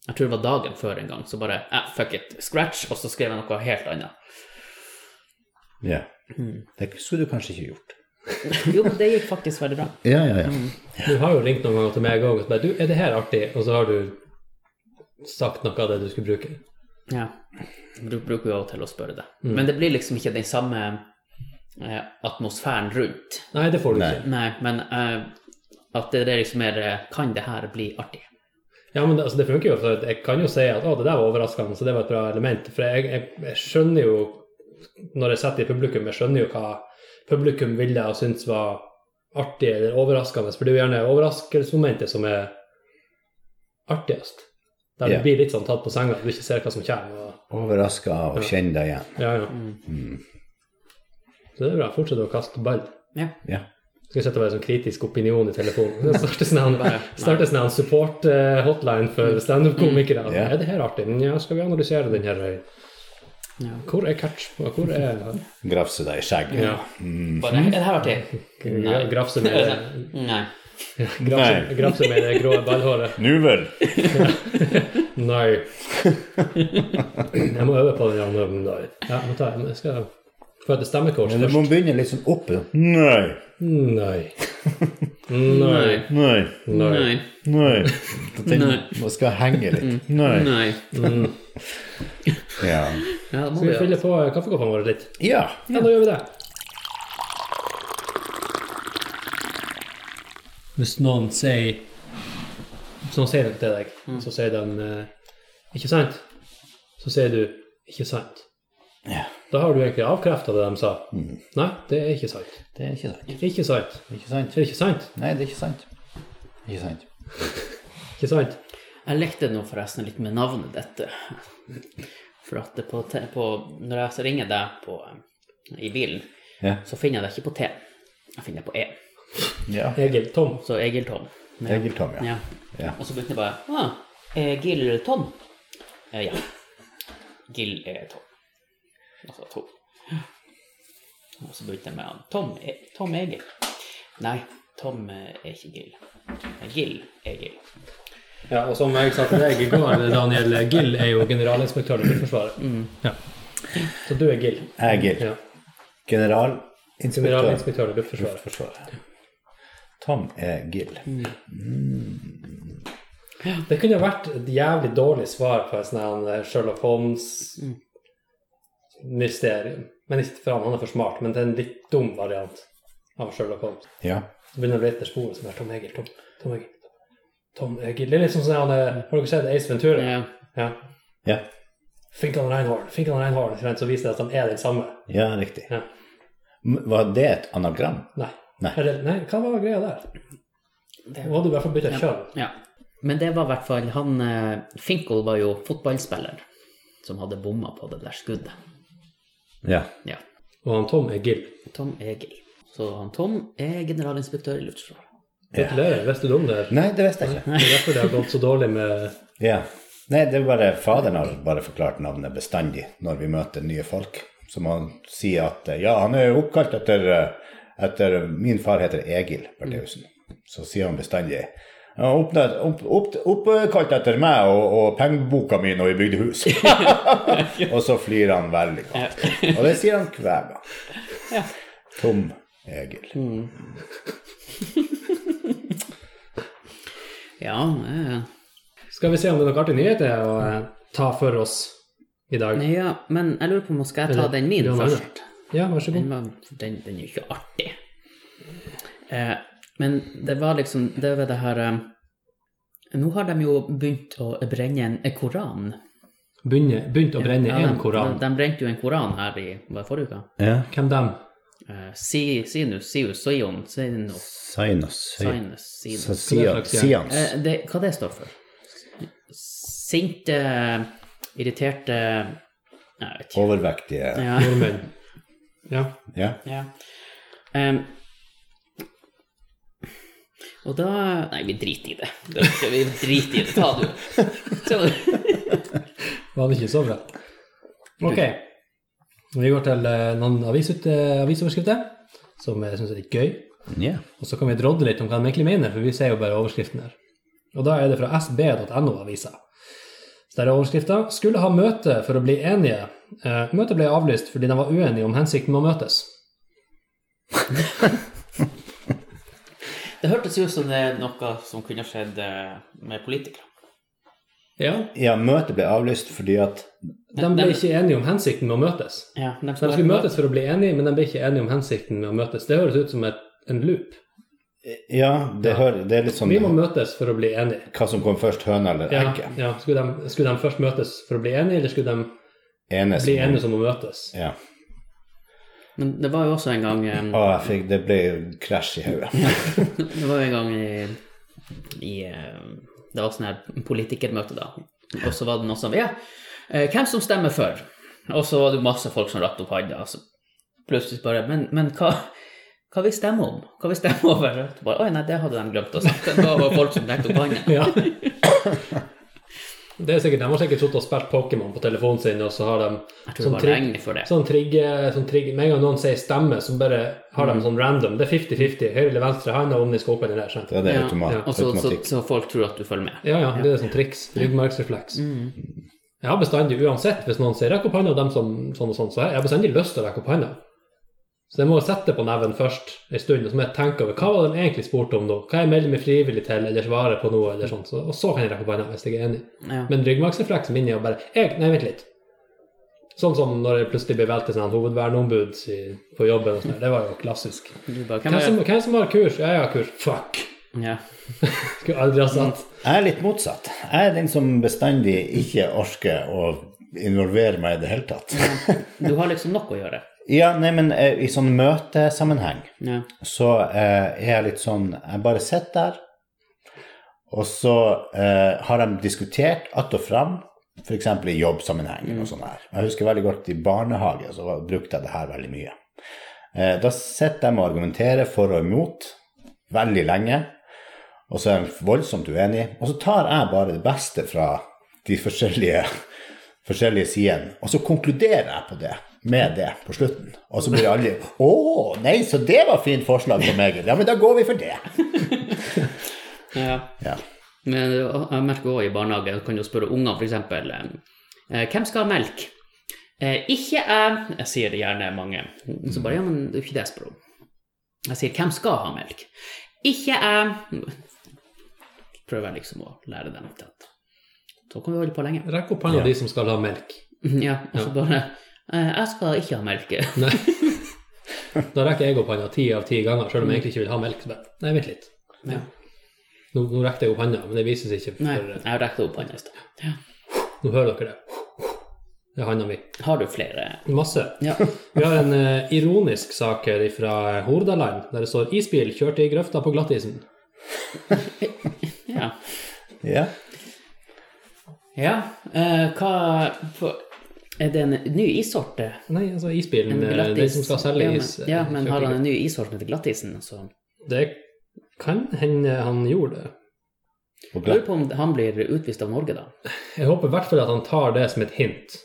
Speaker 2: Jeg tror det var dagen før en gang, så bare eh, fuck it, scratch, og så skrev jeg noe helt annet.
Speaker 3: Ja.
Speaker 2: Mm.
Speaker 3: Det skulle du kanskje ikke gjort.
Speaker 2: Jo, men det gikk faktisk veldig bra.
Speaker 3: Ja, ja, ja.
Speaker 1: Du har jo ringt noen ganger til meg òg og spurt er det her artig, og så har du sagt noe av det du skulle bruke.
Speaker 2: Ja. Du bruker jo av og til å spørre det. Men det blir liksom ikke den samme eh, atmosfæren rundt.
Speaker 1: Nei, det får du
Speaker 3: Nei.
Speaker 1: ikke.
Speaker 2: Nei, men eh, at det er liksom mer eh, Kan det her bli artig?
Speaker 1: Ja, men det, altså, det funker jo, for jeg kan jo si at å, det der var overraskende, så det var et bra element. For jeg, jeg, jeg skjønner jo, når jeg sitter i publikum, jeg skjønner jo hva publikum ville og syntes var artig eller overraskende. For det er jo gjerne overraskelsesmomentet som er artigst. Der du
Speaker 3: Ja.
Speaker 1: blir litt sånn tatt på senga, du ikke ser hva som kommer. Og,
Speaker 3: Overraska av å kjenne deg igjen.
Speaker 1: ja, ja.
Speaker 3: Mm.
Speaker 1: Så det er bra. Fortsett å kaste ball.
Speaker 2: Ja.
Speaker 3: Ja.
Speaker 1: Skal vi sette være sånn kritisk opinion i telefonen? Starte sånn en-
Speaker 2: Bare-
Speaker 1: starte sånn en support-hotline for standup-komikere.
Speaker 3: Ja.
Speaker 1: Er det her artig? Ja, skal vi analysere den her? eh,
Speaker 2: Ja.
Speaker 1: Hvor er catch? Og Hvor er
Speaker 3: Grafse deg i skjegget.
Speaker 1: ja.
Speaker 2: Bare, er det her artig? Nei.
Speaker 1: Grafse med det-
Speaker 2: Nei.
Speaker 1: grafse, grafse med det grå ballhåret.
Speaker 3: Nu vel.
Speaker 1: Nei. Jeg må øve på den andre. Nei. Ja, må ta, jeg skal få et stemmekors
Speaker 3: Men du må
Speaker 1: først.
Speaker 3: begynne litt sånn opp. Nei,
Speaker 1: Nei. Nei.
Speaker 3: nei,
Speaker 1: Nei.
Speaker 2: Nei.
Speaker 3: nei. Så Den
Speaker 2: Nei.
Speaker 3: må- skal henge litt. Nei.
Speaker 2: Nei.
Speaker 1: Mm.
Speaker 3: Ja.
Speaker 2: Ja, det må
Speaker 1: Skal vi
Speaker 2: vi
Speaker 1: fylle
Speaker 2: gjøre.
Speaker 1: på kaffekoppene våre litt?
Speaker 3: ja.
Speaker 1: Ja, da gjør vi det. Hvis noen sier Hvis noen sier noe til deg, så sier de eh, 'ikke sant', så sier du 'ikke sant'.
Speaker 3: Ja.
Speaker 1: Da har du egentlig avkrefta det de sa. Nei, det er ikke sant.
Speaker 3: Det er ikke sant.
Speaker 1: Ikke sant.
Speaker 3: Det er ikke sant.
Speaker 1: Det er ikke sant.
Speaker 3: Nei, det er ikke sant. Ikke sant.
Speaker 1: Ikke sant.
Speaker 2: Jeg lekte nå forresten litt med navnet dette. For at det på, te- på, når jeg så ringer deg på, eh, i bilen,
Speaker 3: Ja.
Speaker 2: så finner jeg deg ikke på T. Jeg finner deg på E.
Speaker 3: ja.
Speaker 1: Egil Tom.
Speaker 2: Så Egil Tom. Ja.
Speaker 3: Egil Tom, ja.
Speaker 2: Ja.
Speaker 3: Ja.
Speaker 2: Og så begynte jeg bare ah, Egil Tom. Eh, ja. Gil er Tom. Altså Tom. Og så begynte jeg med han. Tom, E- Tom Egil. Nei, Tom eh, er ikke Gil. Gil er Gil.
Speaker 1: Ja, og som jeg sa til deg i går, Daniel Gill er jo generalinspektør i Luftforsvaret. Ja. Mm. Så du er Gill.
Speaker 3: Egil.
Speaker 1: Ja.
Speaker 3: Generalinspektør.
Speaker 1: Generalinspektør i Luftforsvaret.
Speaker 3: Forsvaret. Tom er Gill.
Speaker 1: Det kunne vært et jævlig dårlig svar på et sånt her eh, Sherlock Holmes-mysterium. Men ikke for han, han er for smart, men det er en litt dum variant av Sherlock Holmes.
Speaker 3: Ja.
Speaker 1: Så begynner det å bli etter sporet som er Tom Egil, Tom, Tom Egil. Tom Egil. Det er litt sånn som han er, Har dere sett Ace Ventura?
Speaker 2: Ja.
Speaker 1: Ja.
Speaker 3: Ja.
Speaker 1: Finkan Reinhard, Finkan Reinhard, ikke sant, så viser det at han er den samme.
Speaker 3: ja, riktig.
Speaker 1: Ja.
Speaker 3: M- Var det et anagram?
Speaker 1: Nei.
Speaker 3: Nei.
Speaker 1: Eller, nei, hva var greia der?
Speaker 2: Det-
Speaker 1: Hun hadde i hvert fall bytta kjønn.
Speaker 2: Ja. Men det var i hvert fall han eh, Finkel var jo fotballspiller som hadde bomma på det der skuddet.
Speaker 3: Ja.
Speaker 2: Ja.
Speaker 1: Og han Tom Egil.
Speaker 2: Tom Egil. Så han Tom er generalinspektør i Luftforsvaret.
Speaker 1: Gratulerer, visste du om det? her?
Speaker 3: Nei, det visste jeg ikke.
Speaker 1: Det er derfor det har gått så dårlig med
Speaker 3: Ja. Nei, det er bare Faderen har bare forklart navnet bestandig når vi møter nye folk. Som han sier at eh, Ja, han er oppkalt etter, eh, etter Min far heter Egil Bertheussen. Så sier han bestandig «Han er oppnett- opp- opp- Oppkalt etter meg og, og pengeboka mi når vi bygde hus. og så flyr han veldig godt. Og det sier han hver gang. Tom Egil.
Speaker 2: Mm. Ja, eh,
Speaker 1: Skal vi se om det er noen artige nyheter å eh, ta for oss i dag?
Speaker 2: ja, men jeg lurer på om skal jeg ta den min
Speaker 1: Ja, nei, nei.
Speaker 2: først.
Speaker 1: Ja, vær så
Speaker 2: Den,
Speaker 1: god.
Speaker 2: var, den, den er jo ikke artig. Eh, men det var liksom Det var det her eh, Nå har de jo begynt å brenne en en koran.
Speaker 1: Begynne, begynt å brenne
Speaker 2: Ja,
Speaker 1: en
Speaker 2: de-
Speaker 1: koran.
Speaker 2: De, de brente jo en koran her i var det forrige uke.
Speaker 3: Ja.
Speaker 1: Hvem dem?
Speaker 2: Eh, si, sinus, sius, sion, sinus,
Speaker 3: Sinus.
Speaker 2: sinus, sinus.
Speaker 1: Sian- Sians.
Speaker 2: Eh, det, hva det står for? Sinte, irriterte Jeg vet ikke.
Speaker 3: Overvektige.
Speaker 2: Eh, Ja.
Speaker 1: Nordmenn. Ja.
Speaker 3: Ja.
Speaker 2: Ja. Ehm, og da Nei, vi driter i det. det vi driter i det. Ta det jo. Så-
Speaker 1: Var det ikke så bra? Ok. Vi går til eh, noen avisut, eh, avisoverskrifter som jeg syns er litt gøy.
Speaker 3: Ja.
Speaker 1: Og så kan vi drodde litt om hva de egentlig mener, for vi ser jo bare overskriften her. Og da er det fra sb.no-avisa. Så der er overskrifta 'Skulle ha møte for å bli enige', Eh, møtet ble avlyst fordi de var uenige om hensikten med å møtes.
Speaker 2: Det hørtes ut som det er noe som kunne skjedd eh, med politikere.
Speaker 1: Ja,
Speaker 3: Ja, møtet ble avlyst fordi at
Speaker 1: De ble ikke enige om hensikten med å møtes.
Speaker 2: Ja, de
Speaker 1: De skulle møtes for å bli enige, men de ble ikke enige om hensikten med å møtes. Det høres ut som et, en loop.
Speaker 3: Ja, det, hører, det er litt sånn
Speaker 1: Vi må møtes for å bli enige.
Speaker 3: Hva som kom først, høna eller
Speaker 1: Ja,
Speaker 3: egget?
Speaker 1: ja. Skulle, de, skulle de først møtes for å bli enige, eller skulle de
Speaker 3: Enes.
Speaker 1: bli enige som å møtes?
Speaker 3: Ja.
Speaker 2: Men det var jo også en gang eh,
Speaker 3: Å, jeg fikk, det ble krasj i hodet.
Speaker 2: Det var jo en gang i, i eh, Det var sånn her politikermøte, da. Og så var det noen som Ja, eh, hvem som stemmer for? Og så var det jo masse folk som rakte opp hånda. og så Plutselig bare Men, men hva, hva vi stemmer om? Hva vi stemmer over? Så Bare, Oi, nei, det hadde de glemt å si. Det var bare folk som rekte opp hånda.
Speaker 1: Ja. Det er sikkert, De har sikkert sittet og spilt Pokémon på telefonen sin, og så har
Speaker 2: Jeg
Speaker 1: de
Speaker 2: tror det
Speaker 1: sånn
Speaker 2: var
Speaker 1: trigg,
Speaker 2: regnet for det.
Speaker 1: sånn trigger, sånn trigger, Med en gang noen sier stemme, så bare har
Speaker 2: Mm.
Speaker 1: de sånn random. Det er 50-50. Høyre eller venstre hånd, og om de skal opp eller ned. skjønt?
Speaker 3: Det er det
Speaker 2: Ja, Altså,
Speaker 3: automat,
Speaker 2: Og så, så,
Speaker 3: automatikk.
Speaker 2: så folk tror at du følger med.
Speaker 1: Ja, ja, det er sånn triks. Ryggmargsrefleks. Jeg har bestandig, uansett, hvis noen sier 'rekk opp hånda', og dem som sånn og sånn, så har jeg bestandig lyst til å rekke opp hånda. Så jeg må sette på neven først en stund, og så må jeg tenke over hva var det de egentlig spurte om nå? Hva jeg melder meg frivillig til, eller svarer på noe, eller sånt. Så, og så kan jeg rekke opp hånda, hvis jeg er enig.
Speaker 2: Ja.
Speaker 1: Men ryggmargsrefleksen min er jo bare jeg, Nei, vent litt. Sånn som når jeg plutselig blir valgt til sånn hovedverneombud i- på jobben. og sånn der. Det var jo klassisk.
Speaker 2: Du bare, hvem
Speaker 1: Hvem som,
Speaker 2: er
Speaker 1: hvem som har kurs? Ja, jeg har kurs. Fuck!
Speaker 2: ja.
Speaker 1: Skulle aldri ha satt.
Speaker 3: Jeg er litt motsatt. Jeg er den som bestandig ikke orker å involvere meg i det hele tatt.
Speaker 2: Du har liksom nok å gjøre.
Speaker 3: Ja, nei, men eh, i sånn møtesammenheng
Speaker 2: Ja.
Speaker 3: så eh, er jeg litt sånn Jeg bare sitter der, og så eh, har de diskutert att og fram, f.eks. i jobbsammenheng og sånn her. Jeg husker veldig godt i barnehage så var- brukte jeg det her veldig mye. Eh, da sitter de og argumenterer for og imot veldig lenge, og så er de voldsomt uenige. Og så tar jeg bare det beste fra de forskjellige, forskjellige sidene, og så konkluderer jeg på det. Med det på slutten. Og så blir alle 'Å, nei, så det var fint forslag fra meg.' Ja, men da går vi for det.
Speaker 2: ja.
Speaker 3: Ja.
Speaker 2: Men jeg merker også i barnehagen, du kan jo spørre ungene f.eks.: Hvem skal ha melk? «Eh, Ikke jeg, jeg sier det gjerne mange. Så bare ja, men det er jo ikke det jeg spør om. Jeg sier hvem skal ha melk? Ikke jeg. Prøver jeg liksom å lære dem til at så kan vi holde på lenge.
Speaker 1: Rekk opp hånda, de som skal ha melk.
Speaker 2: Ja, og så bare «Eh, Jeg skal ikke ha melk.
Speaker 1: Nei. Da rekker jeg opp hånda ti av ti ganger, selv om jeg egentlig ikke vil ha melk. Men nei, vent litt.
Speaker 2: Ja.
Speaker 1: Nå, nå rekte jeg opp hånda, men det vises ikke.
Speaker 2: Nei,
Speaker 1: For, eh,
Speaker 2: jeg rekte opp hånda i sted. Ja.
Speaker 1: Nå hører dere det. Det er hånda mi.
Speaker 2: Har du flere?
Speaker 1: Masse.
Speaker 2: Ja.
Speaker 1: Vi har en eh, ironisk sak her fra Hordaland, der det står 'Isbil kjørte i grøfta på glattisen'.
Speaker 2: ja.
Speaker 3: Ja.
Speaker 2: Ja, eh, hva på, Er det en ny issorte?
Speaker 1: Nei, altså isbilen,
Speaker 2: En
Speaker 1: eh, den som skal selge
Speaker 2: ja, men,
Speaker 1: is. eh,
Speaker 2: Ja, men
Speaker 1: kjørte
Speaker 2: har
Speaker 1: i
Speaker 2: han en ny issorte til glattisen? Så
Speaker 1: grøfta. Det kan hende han gjorde det.
Speaker 3: Og
Speaker 2: jeg lurer på om han blir utvist av Norge, da.
Speaker 1: Jeg håper i hvert fall at han tar det som et hint.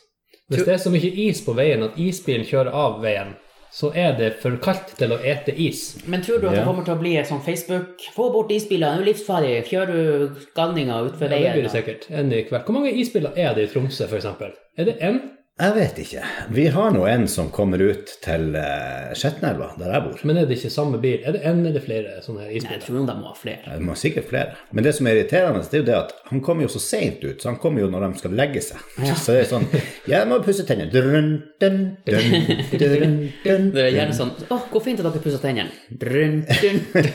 Speaker 1: Hvis det er så mye is på veien at isbilen kjører av veien, så er det for kaldt til å ete is.
Speaker 2: Men tror du at
Speaker 3: Ja.
Speaker 2: det kommer til å bli et sånn Facebook Få bort isbiler, det er jo livsfarlig. Kjører du galninga
Speaker 1: Ja,
Speaker 2: utfor
Speaker 1: det blir
Speaker 2: veien?
Speaker 1: det
Speaker 2: da?»
Speaker 1: sikkert. En i hver. Hvor mange isbiler er det i Tromsø, f.eks.? Er det én?
Speaker 3: Jeg vet ikke. Vi har nå en som kommer ut til eh, Skjetnelva, der jeg bor.
Speaker 1: Men er det ikke samme bil? Er det én eller flere sånne her
Speaker 2: Nei, jeg
Speaker 1: isbiler?
Speaker 2: tror de må ha flere.
Speaker 3: Det må sikkert flere. Men det som er irriterende, det er jo det at han kommer jo så seint ut, så han kommer jo når de skal legge seg. Så det er sånn Jeg må pusse tennene. Drun, dun, dun, drun, dun.
Speaker 2: Det er gjerne sånn Å, hvor fint at dere pusser tennene. Drun, drun.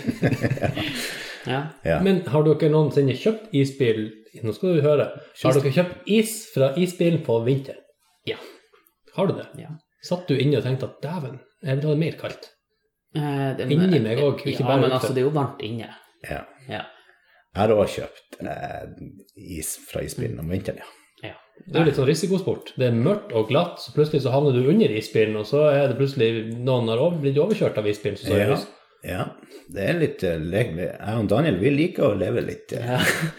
Speaker 2: ja.
Speaker 3: Ja.
Speaker 1: Men har dere noensinne kjøpt isbil Nå skal du høre. Har dere kjøpt is fra isbilen på vinteren?
Speaker 2: ja.
Speaker 1: Har du det?
Speaker 2: ja.
Speaker 1: Satt du inne og tenkte at dæven, jeg vil ha det mer kaldt?
Speaker 2: Eh, det-
Speaker 1: Inni meg også, ikke
Speaker 2: Ja,
Speaker 1: bare
Speaker 2: men
Speaker 1: utfor.
Speaker 2: altså, det er jo varmt inne.
Speaker 3: ja.
Speaker 2: Ja.
Speaker 3: Jeg har òg kjøpt eh, is fra isbilen om vinteren, ja.
Speaker 2: ja.
Speaker 1: Det er jo litt sånn risikosport. Det er mørkt og glatt, så plutselig så havner du under isbilen, og så er det plutselig noen har over, blitt overkjørt av isbilen. Så
Speaker 3: Ja.
Speaker 1: ja.
Speaker 3: ja. Det er litt eh, le- Jeg og Daniel, vi liker å leve litt eh,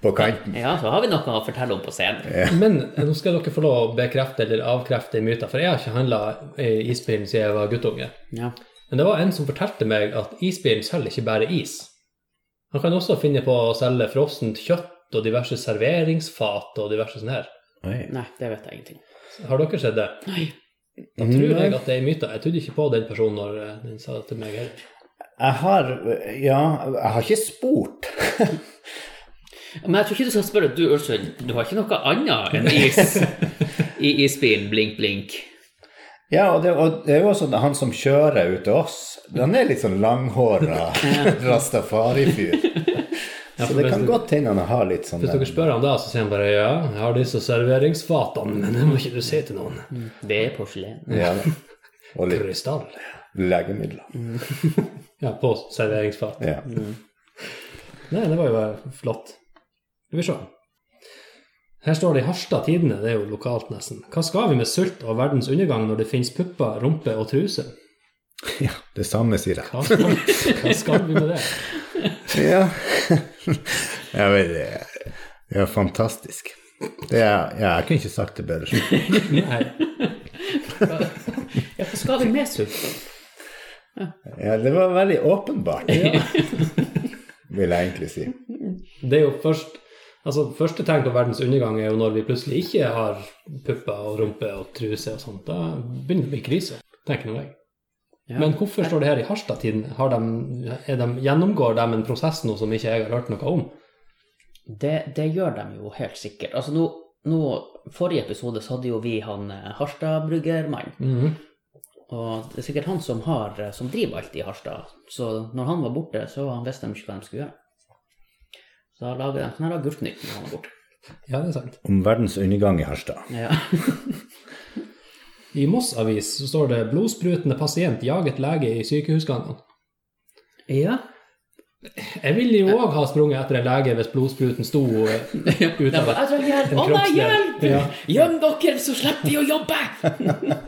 Speaker 3: på kanten.
Speaker 2: Ja, så har vi noe å fortelle om på scenen.
Speaker 1: Men nå skal dere få lov å bekrefte eller avkrefte myter, for jeg har ikke handla isbilen siden jeg var guttunge.
Speaker 2: Ja.
Speaker 1: Men det var en som fortalte meg at isbilen selger ikke bare is. Han kan også finne på å selge frossent kjøtt og diverse serveringsfat og diverse sånne her.
Speaker 3: Oi.
Speaker 2: Nei, det vet jeg ingenting om.
Speaker 1: Har dere sett det?
Speaker 2: Nei.
Speaker 1: Da tror jeg at det er myter. Jeg trodde ikke på den personen når eh, den sa det til meg heller.
Speaker 3: Jeg har eh, Ja, jeg har ikke spurt.
Speaker 2: Men jeg tror ikke du skal spørre. Du, Ulstein, du har ikke noe annet enn is i isbilen? Blink, blink.
Speaker 3: Ja, og det, og det er jo også han som kjører ut til oss. Han er litt sånn langhåra rastafari-fyr. Så det kan godt hende han har litt sånn
Speaker 1: Hvis dere spør han da, så sier han bare ja, jeg har disse serveringsfatene, men det må ikke du si til noen.
Speaker 3: Mm.
Speaker 2: Det er porselen.
Speaker 3: ja, da. Og litt
Speaker 1: Krystall. Mm.
Speaker 3: legemidler.
Speaker 1: Ja, på serveringsfat.
Speaker 3: Ja.
Speaker 1: Nei, det var jo eh, flott. Skal vi se. Her står det i Harstad Tidende, det er jo lokalt nesten. Hva skal vi med sult og verdens undergang når det finnes pupper, rumpe og truse?
Speaker 3: ja. Det samme sier jeg.
Speaker 1: Hva skal, hva skal vi med det?
Speaker 3: Ja. Jeg vet det. Det er fantastisk. Det er, ja, jeg kunne ikke sagt det bedre. selv.
Speaker 1: Nei,
Speaker 2: Ja, hva skal vi med sult?
Speaker 3: Ja, det var veldig åpenbart, vil jeg egentlig si.
Speaker 1: det er jo først Altså, Første tegn på verdens undergang er jo når vi plutselig ikke har pupper og rumpe og truse og sånt. Da begynner det å bli krise, tenker nå jeg.
Speaker 2: Ja.
Speaker 1: Men hvorfor står det her i Harstad-tiden? Har de, er de, gjennomgår de en prosess nå som ikke jeg har hørt noe om?
Speaker 2: Det, det gjør de jo helt sikkert. Altså nå, nå, Forrige episode så hadde jo vi han eh, Harstad-bryggermannen.
Speaker 1: Mhm.
Speaker 2: Og det er sikkert han som, har, eh, som driver alt i Harstad. Så når han var borte, så visste de ikke hva de skulle gjøre. Så da lager de sånn her agurknytt når han er borte.
Speaker 1: Ja, det er sant.
Speaker 3: Om verdens undergang i Harstad.
Speaker 2: Ja.
Speaker 1: I Moss Avis så står det 'blodsprutende pasient jaget lege i sykehusgangene'.
Speaker 2: ja.
Speaker 1: Jeg ville jo òg ha sprunget etter en lege hvis blodspruten sto eh, ut
Speaker 2: Jeg
Speaker 1: av
Speaker 2: bare, jeg trenger hjelp!
Speaker 1: En
Speaker 2: Å nei,
Speaker 1: kroppsdel.
Speaker 2: hjelp!
Speaker 1: Ja.
Speaker 2: Gjem dere, så slipper vi å jobbe!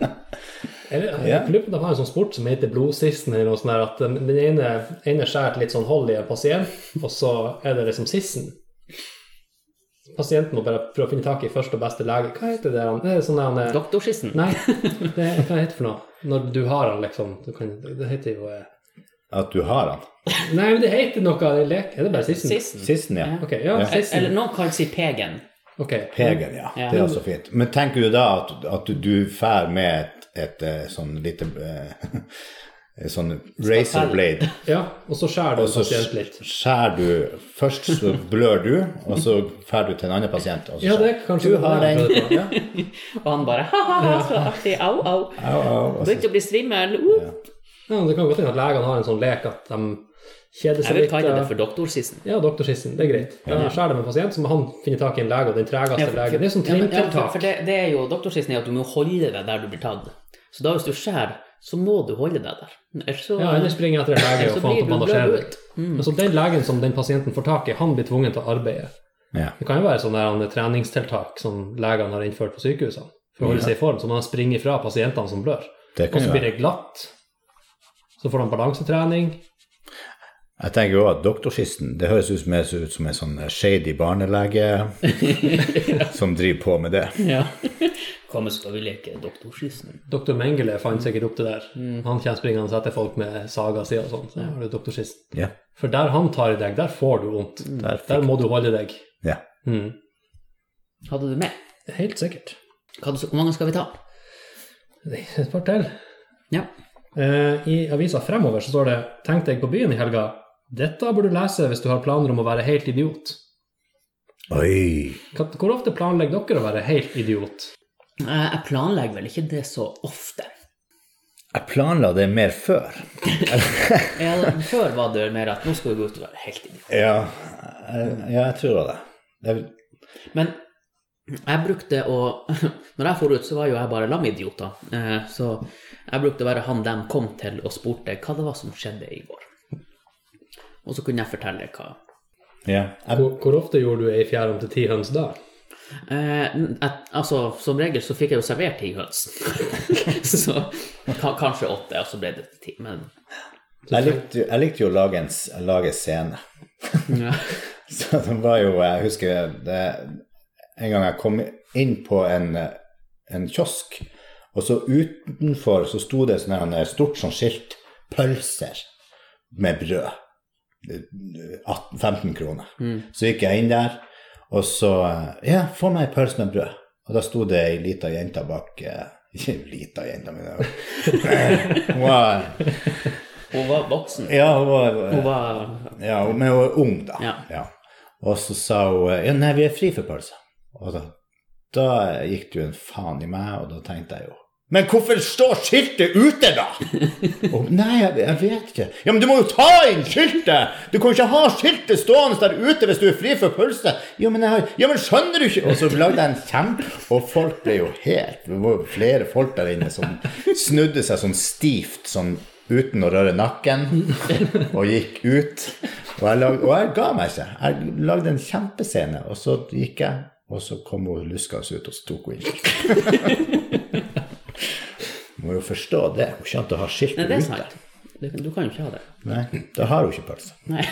Speaker 1: Jeg
Speaker 3: Ja.
Speaker 1: jeg lurer på om de har en sånn sport som heter blodsisten, eller noe sånt der, at den den ene, ene skjærer litt sånn hold i en pasient, og så er det liksom sissen. Pasienten må bare prøve å finne tak i første og beste lege. Hva heter det? han? Det er sånn der han er-
Speaker 2: Doktorskissen.
Speaker 1: Nei, det er, hva heter det for noe? Når du har han, liksom. Du kan, det heter jo eh,
Speaker 3: At du har han.
Speaker 1: Nei, men det heter noe i lek. Er det bare sissen?
Speaker 2: Sissen.
Speaker 3: Sissen, ja.
Speaker 1: Ok, ja,
Speaker 3: Ja.
Speaker 2: Eh, Eller
Speaker 1: sissen.
Speaker 2: noen kan si pegen.
Speaker 1: Ok.
Speaker 3: Pegen, ja. Det er også fint. Men tenker du da at, at du- du fær med et, et, eh, sånn lite eh, en Sånn razor blade,
Speaker 1: Ja, og så skjærer du
Speaker 3: og så
Speaker 1: pasient litt.
Speaker 3: skjærer du Først så blør du, og så fær du til en annen pasient. Og så
Speaker 1: Ja, det er
Speaker 3: skjærer
Speaker 1: kanskje
Speaker 3: Du har
Speaker 1: det jeg
Speaker 3: den.
Speaker 1: prøvde på.
Speaker 2: Og han bare ha-ha, så artig. Au, au.
Speaker 3: Au, au, og så-
Speaker 2: Begynte å bli svimmel. Uh.
Speaker 1: Ja, men det kan godt hende at legene har en sånn lek at de kjeder seg
Speaker 2: Jeg vil
Speaker 1: litt.
Speaker 2: kalle det
Speaker 1: eh,
Speaker 2: for doktorskissen.
Speaker 1: Ja, doktorskissen. Det er greit. Da skjærer de en pasient, så må han finne tak i en lege, og den tregeste legen. Det er sånn
Speaker 2: Ja, men- ja, for,
Speaker 1: trimtiltak.
Speaker 2: for det, det er jo, Doktorskissen er jo at du må holde deg der du blir tatt. Så da hvis du skjærer, så må du holde deg der. Ellers så
Speaker 1: Ja, ellers springer jeg etter en lege
Speaker 2: Så
Speaker 1: og får han til å
Speaker 2: blir du
Speaker 1: bandasjere
Speaker 2: blødd
Speaker 1: deg.
Speaker 2: Mm.
Speaker 1: Men så den legen som den pasienten får tak i, han blir tvungen til å arbeide.
Speaker 3: Ja.
Speaker 1: Det kan jo være sånne der, eh, treningstiltak som legene har innført på sykehusene for å holde seg i form, så man springer fra pasientene som blør.
Speaker 3: Det
Speaker 1: Og
Speaker 3: kan
Speaker 1: så
Speaker 3: jo
Speaker 1: blir
Speaker 3: være.
Speaker 1: det glatt. Så får de balansetrening.
Speaker 3: Jeg tenker jo at doktorskisten, det høres ut mer ut som en sånn shady barnelege som driver på med det.
Speaker 2: Ja. Kom, så skal vi leke Doktorskissen.
Speaker 1: Doktor Mengele fant sikkert opp det der. Han kommer springende etter folk med saga si og sånn. Så har du doktorskisten.
Speaker 3: Ja.
Speaker 1: For der han tar i deg, der får du vondt.
Speaker 3: Der
Speaker 1: Mm.
Speaker 3: fikk-
Speaker 1: Der må du holde deg.
Speaker 3: ja.
Speaker 1: Mm.
Speaker 2: Hadde du med?
Speaker 1: Helt sikkert.
Speaker 2: Hva, hvor mange skal vi ta?
Speaker 1: Det er Et par til.
Speaker 2: Ja.
Speaker 1: Eh, I avisa Fremover så står det 'Tenk deg på byen i helga'. Dette bør du lese hvis du har planer om å være helt idiot.
Speaker 3: Oi!
Speaker 1: Hva- Hvor ofte planlegger dere å være helt idiot?
Speaker 2: Eh, Jeg planlegger vel ikke det så ofte.
Speaker 3: Jeg planla det mer før.
Speaker 2: Ja, før var det mer at nå skal vi gå ut og være helt idiot.
Speaker 3: Ja, jeg, ja, jeg tror det. Jeg,
Speaker 2: Men jeg brukte å Når jeg for ut, så var jo jeg bare lamidioter. Eh, Så jeg brukte å være han dem kom til og spurte hva det var som skjedde i går. Og så kunne jeg fortelle hva
Speaker 3: ja. Jeg,
Speaker 1: Hvor, hvor ofte gjorde du ei fjær om til ti høns da?
Speaker 2: Eh, at, altså, Som regel så fikk jeg jo servert ti høns. så ka- kanskje åtte, og så ble det ti. Men
Speaker 3: jeg, likte, jo- jeg likte jo å lage, en, s- lage scene.
Speaker 2: ja.
Speaker 3: Så det var jo Jeg husker det, en gang jeg kom inn på en, en kiosk, og så utenfor så sto det sånn her, en stort sånn skilt 'Pølser med brød'. 18, 15 kroner. Så gikk jeg inn der, og så 'Ja, få meg en pølse med brød'. Og da sto det ei lita jente bak eh, Ikke lita jente, men eh, Hun var
Speaker 2: Hun var voksen.
Speaker 3: Ja, hun var, eh,
Speaker 2: Hun var
Speaker 3: ja, hun- men hun var ung, da.
Speaker 2: Ja.
Speaker 3: Og så sa hun eh, ja, nei, vi er fri for pølser. Og da, da gikk det jo en faen i meg, og da tenkte jeg jo Men hvorfor står skiltet ute, da?! og, nei, jeg, jeg vet ikke. Ja, Men du må jo ta inn skiltet! Du kan jo ikke ha skiltet stående der ute hvis du er fri for pølse! Jo, men jeg har, ja, men skjønner du ikke Og så lagde jeg en kjempe, og folk ble jo helt Det var jo flere folk der inne som snudde seg sånn stivt, sånn uten å røre nakken, og gikk ut. Og jeg, lag, og jeg ga meg ikke. Jeg lagde en kjempescene, og så gikk jeg, og så kom hun luskende ut, og så tok hun inn. Må jo forstå det. Hun skjønte å ha skilt
Speaker 2: Nei, det er
Speaker 3: ute.
Speaker 2: sant. Du, du kan jo ikke ha det.
Speaker 3: Nei, da har hun ikke pølse.
Speaker 2: Nei.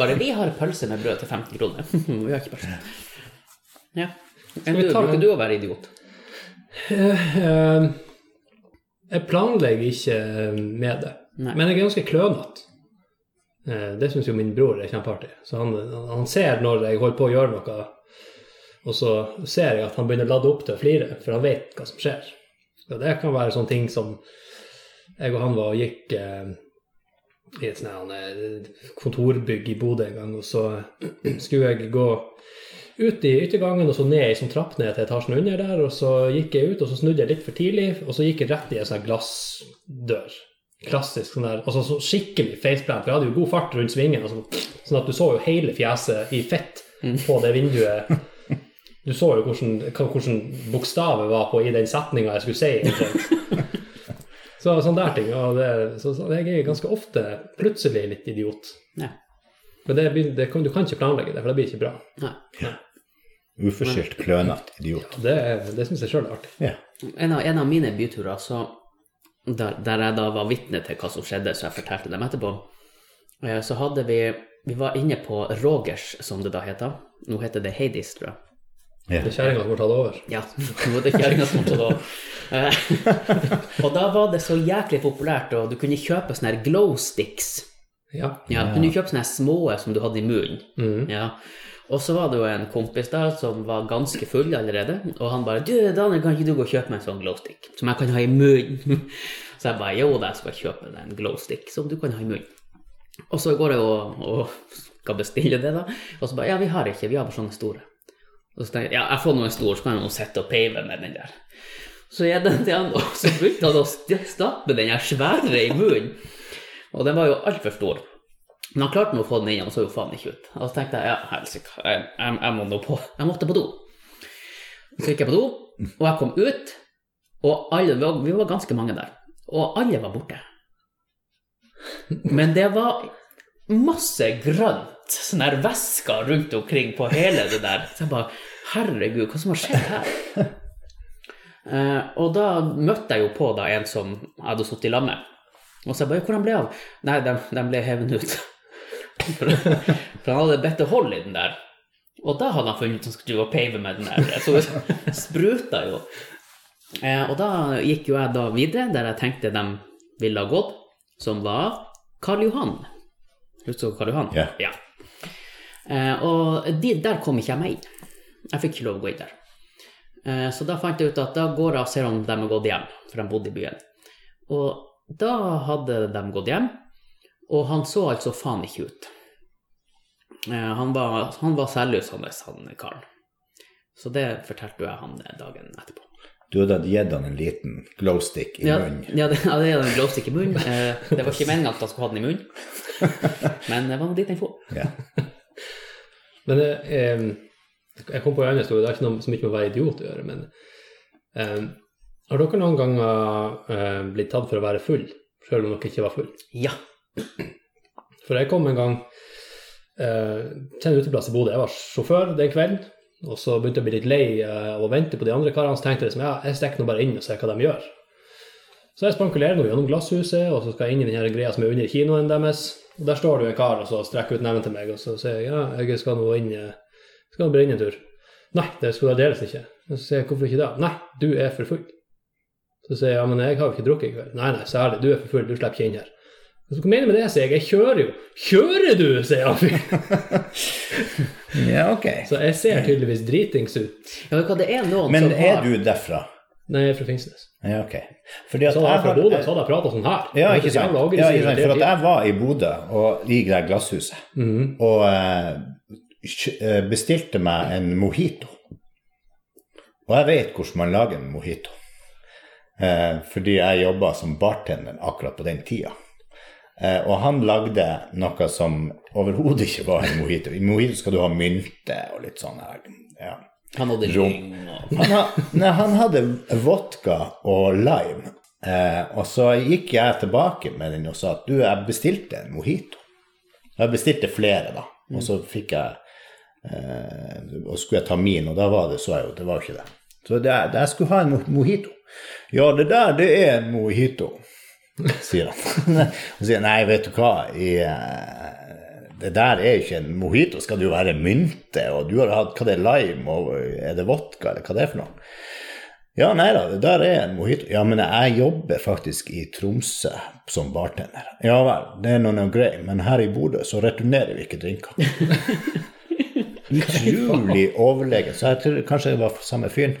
Speaker 2: Bare vi har pølse med brød til 15 kroner. Vi har ikke pølse. Ja. Men
Speaker 1: vi
Speaker 2: du,
Speaker 1: ta
Speaker 2: bruker
Speaker 1: den?
Speaker 2: du å være idiot?
Speaker 1: Eh, Jeg planlegger ikke eh, med det.
Speaker 2: Nei.
Speaker 1: Men jeg er ganske klønete. Eh, Det syns jo min bror er kjempeartig. Så han, han ser når jeg holder på å gjøre noe, og så ser jeg at han begynner å lade opp til å flire, for han vet hva som skjer. Og det kan være sånne ting som jeg og han var og gikk eh, i et sånt her, eh, kontorbygg i Bodø en gang, og så skulle jeg gå ut i yttergangen og så ned i sånn trapp ned til etasjen under der, og så gikk jeg ut, og så snudde jeg litt for tidlig, og så gikk jeg rett i en sånn her glassdør. Klassisk sånn der, altså så skikkelig faceplant, for jeg hadde jo god fart rundt svingen, og så, sånn at du så jo hele fjeset i fett på det vinduet. Du så jo hvordan, hva- hvordan bokstavet var på i den setninga jeg skulle si. omtrent. Så sånn der ting. Og det, så, så jeg er ganske ofte plutselig litt idiot.
Speaker 2: Nei.
Speaker 1: Men det, begyn- det, kan- du kan ikke planlegge det, for det blir ikke bra.
Speaker 2: Nei.
Speaker 3: Uforskyldt klønete idiot.
Speaker 1: Det, er- det syns jeg sjøl er artig.
Speaker 3: Ja.
Speaker 2: En av, en av mine byturer, så, der, der jeg da var vitne til hva som skjedde, så jeg fortalte dem etterpå, eh, så hadde vi Vi var inne på Rogers, som det da heter. Nå heter det Hades, tror jeg.
Speaker 3: ja.
Speaker 1: Det er kjerringa som har tatt over.
Speaker 2: Ja, nå er det kjerringa som også da. Eh, Og da var det så jæklig populært, og du kunne kjøpe sånne her glow sticks.
Speaker 1: Ja.
Speaker 2: Ja, du kunne kjøpe sånne her små som du hadde i munnen. Ja. Og så var det jo en kompis der som var ganske full allerede, og han bare 'Du, Daniel, kan ikke du gå og kjøpe meg en sånn glowstick som jeg kan ha i munnen?' Så jeg bare 'Jo da, jeg skal kjøpe deg en glowstick som du kan ha i munnen'. Og så går jeg og, og skal bestille det, da, og så bare 'Ja, vi har ikke, vi har bare sånne store'. Og så tenker jeg 'Ja, jeg får noen store, så kan jeg nå sitte og peive med den der'. Så jeg den til han, og så begynte han å st- stappe den her svære i munnen. Og den var jo altfor stor. Men han klarte nå å få den inn, og så jo faen ikke ut. Og så tenkte jeg ja, helsike, jeg, jeg, jeg må nå på Jeg måtte på do. Så gikk jeg på do, og jeg kom ut, og alle vi var- Vi var ganske mange der. Og alle var borte. Men det var masse grønt, sånn her væsker rundt omkring på hele det der. Så jeg bare Herregud, hva som har skjedd her? Eh, og da møtte jeg jo på da en som jeg hadde sittet i lag med. Og så jeg bare, hvordan ble han? Nei, de, de ble hevet ut. For, for han hadde bedt å holde i den der. Og da hadde han funnet ut at han skulle drive og pave med den der. Så det spruta jo. Eh, og da gikk jo jeg da videre, der jeg tenkte de ville ha gått, som var Karl Johan. Husker du Karl Johan?
Speaker 3: Ja.
Speaker 2: Eh, og de, der kom ikke jeg meg inn. Jeg fikk ikke lov å gå inn der. Eh, Så da fant jeg ut at da går jeg og ser om de har gått hjem, for de bodde i byen. Og da hadde de gått hjem, og han så altså faen ikke ut. Eh, Han var, han var selvlysende, han karen. Så det fortalte jo jeg han eh, dagen etterpå.
Speaker 3: Du hadde gitt han en liten glowstick i
Speaker 2: Ja,
Speaker 3: munnen.
Speaker 2: ja, det, ja, det er en glowstick i munnen. Eh, Det var ikke meningen at han skulle ha den i munnen, men det var nå dit den for.
Speaker 3: Ja.
Speaker 1: Men eh, em, jeg kom på en annen historie, det har ikke noe som ikke med å være idiot å gjøre, men em, har dere noen ganger eh, blitt tatt for å være full, selv om dere ikke var full?
Speaker 2: Ja.
Speaker 1: For jeg kom en gang eh, til en uteplass i Bodø. Jeg var sjåfør den kvelden. Og så begynte jeg å bli litt lei eh, av å vente på de andre karene. Så tenkte jeg liksom, ja, jeg stikker nå bare inn og ser hva de gjør. Så jeg spankulerer nå gjennom glasshuset, og så skal jeg inn i den her greia som er under kinoen deres. Og der står det jo en kar og så strekker ut neven til meg, og så sier jeg ja, jeg skal nå inn eh, skal nå bare inn en tur. Nei, det skal aldeles ikke. Og Så sier jeg hvorfor ikke det? Nei, du er for full. Så sier jeg ja, men jeg har jo ikke drukket i kveld. Nei, nei, særlig, du er for full, du slipper ikke inn her. Så Hva mener du med det, sier jeg. Jeg kjører jo. Kjører du, sier han fyren.
Speaker 3: Ja, ok.
Speaker 1: Så jeg ser tydeligvis dritings ut.
Speaker 2: Ja, vet du hva, det er noen
Speaker 3: Men
Speaker 2: som
Speaker 3: er
Speaker 2: har
Speaker 3: du derfra?
Speaker 1: Nei, jeg er fra Finnsnes.
Speaker 3: Ja, ok. Fordi at
Speaker 1: Så hadde
Speaker 3: jeg
Speaker 1: jeg fra
Speaker 3: har-
Speaker 1: Bodø, så hadde jeg prata sånn her.
Speaker 3: Ja,
Speaker 1: Det er
Speaker 3: ikke
Speaker 1: så
Speaker 3: sant.
Speaker 1: jævla
Speaker 3: Ja, ikke sant. For
Speaker 1: aggressivt.
Speaker 3: at jeg var i Bodø og i det glasshuset
Speaker 1: Mhm.
Speaker 3: og eh, kj- eh, bestilte meg en mojito. Og jeg vet hvordan man lager en mojito. Eh, fordi jeg jobba som bartender akkurat på den tida. Eh, og han lagde noe som overhodet ikke var en mojito. I mojito skal du ha mynte og litt sånn her. Ja.
Speaker 2: Han hadde
Speaker 3: Rom.
Speaker 2: ring og
Speaker 3: Han, ha, nei, han hadde vodka og lime. Eh, og så gikk jeg tilbake med den og sa at du, jeg bestilte en mojito. Jeg bestilte flere, da. Og så fikk jeg eh, Og skulle jeg ta min, og da var det, så jeg jo, det var jo ikke det. Så det, jeg skulle ha en mo- mojito. Ja, det der, det er en mojito, sier han. Og sier nei, vet du hva, i, eh, det der er jo ikke en mojito, skal det jo være mynte, og du har hatt, hva det er, lime, og er det vodka, eller hva det er for noe? Ja, nei da, det der er en mojito. Ja, men jeg jobber faktisk i Tromsø som bartender. Ja vel, det er nå noe grei, men her i Bodø så returnerer vi ikke drinker. Utrolig overlegen. Så jeg tror kanskje det var samme fyren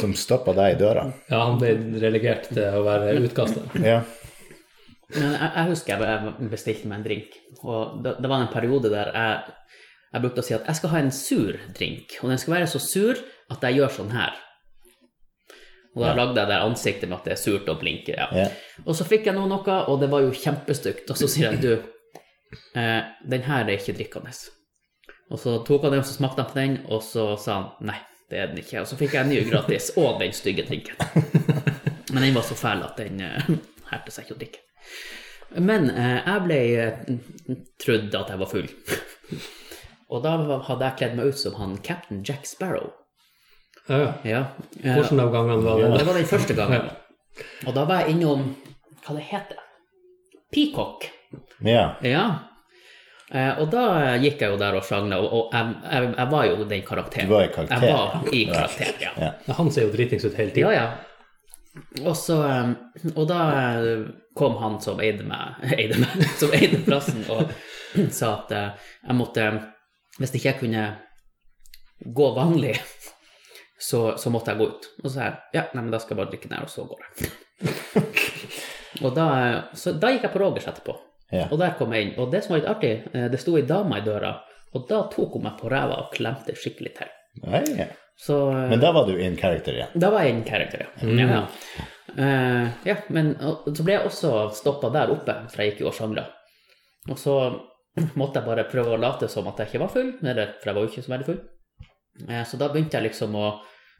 Speaker 3: som stoppa deg i døra.
Speaker 1: Ja, han ble relegert til å være utkasta.
Speaker 3: Ja.
Speaker 2: Men jeg, jeg husker jeg jeg bestilte meg en drink, og det, det var en periode der jeg, jeg brukte å si at jeg skal ha en sur drink, og den skal være så sur at jeg gjør sånn her. Og da lagde jeg det ansiktet med at det er surt og blinker. Ja.
Speaker 3: Ja.
Speaker 2: Og så fikk jeg nå noe, og det var jo kjempestygt. Og så sier jeg, du, eh, den her er ikke drikkende. Og så tok han den, og så smakte han på den, og så sa han nei, det er den ikke. Og så fikk jeg en ny gratis, og den stygge drinken. Men den var så fæl at den eh, hertet seg ikke å drikke. Men eh, jeg ble eh, trudd at jeg var full. Og da hadde jeg kledd meg ut som han Captain Jack Sparrow.
Speaker 1: Ja, ja.
Speaker 2: Ja, eh,
Speaker 1: Hvordan av gangene var det?
Speaker 2: det var den første gangen. Og da var jeg innom Hva det heter det? Peacock.
Speaker 3: ja.
Speaker 2: Ja. Eh, og da gikk jeg jo der og sjangla, og, og jeg, jeg, jeg var jo den karakteren.
Speaker 3: Du var i karakter.
Speaker 2: Jeg var i karakter, ja.
Speaker 3: Ja.
Speaker 1: Ja, Han ser jo dritings ut hele
Speaker 2: Ja,
Speaker 1: tida.
Speaker 2: ja. Og, så, eh, og da eh, kom han som eide meg, eide meg som eide plassen, og sa at eh, jeg måtte Hvis ikke jeg kunne gå vanlig, så, så måtte jeg gå ut. Og så sa jeg ja, nei, men da skal jeg bare drikke den her, og så går jeg. og da, eh, så da gikk jeg på Rogers etterpå,
Speaker 3: Ja.
Speaker 2: og der kom jeg inn. Og det som var litt artig, eh, det sto ei dame i døra, og da tok hun meg på ræva og klemte skikkelig til.
Speaker 3: Nei, ja.
Speaker 2: Så eh,
Speaker 3: Men da var du in character igjen.
Speaker 2: da var jeg en karakter, ja.
Speaker 1: Mm,
Speaker 2: ja. Eh, ja, men og, så ble jeg også stoppa der oppe, for jeg gikk jo og sjangla. Og så måtte jeg bare prøve å late som at jeg ikke var full, eller, for jeg var jo ikke så veldig full. Eh, så da begynte jeg liksom å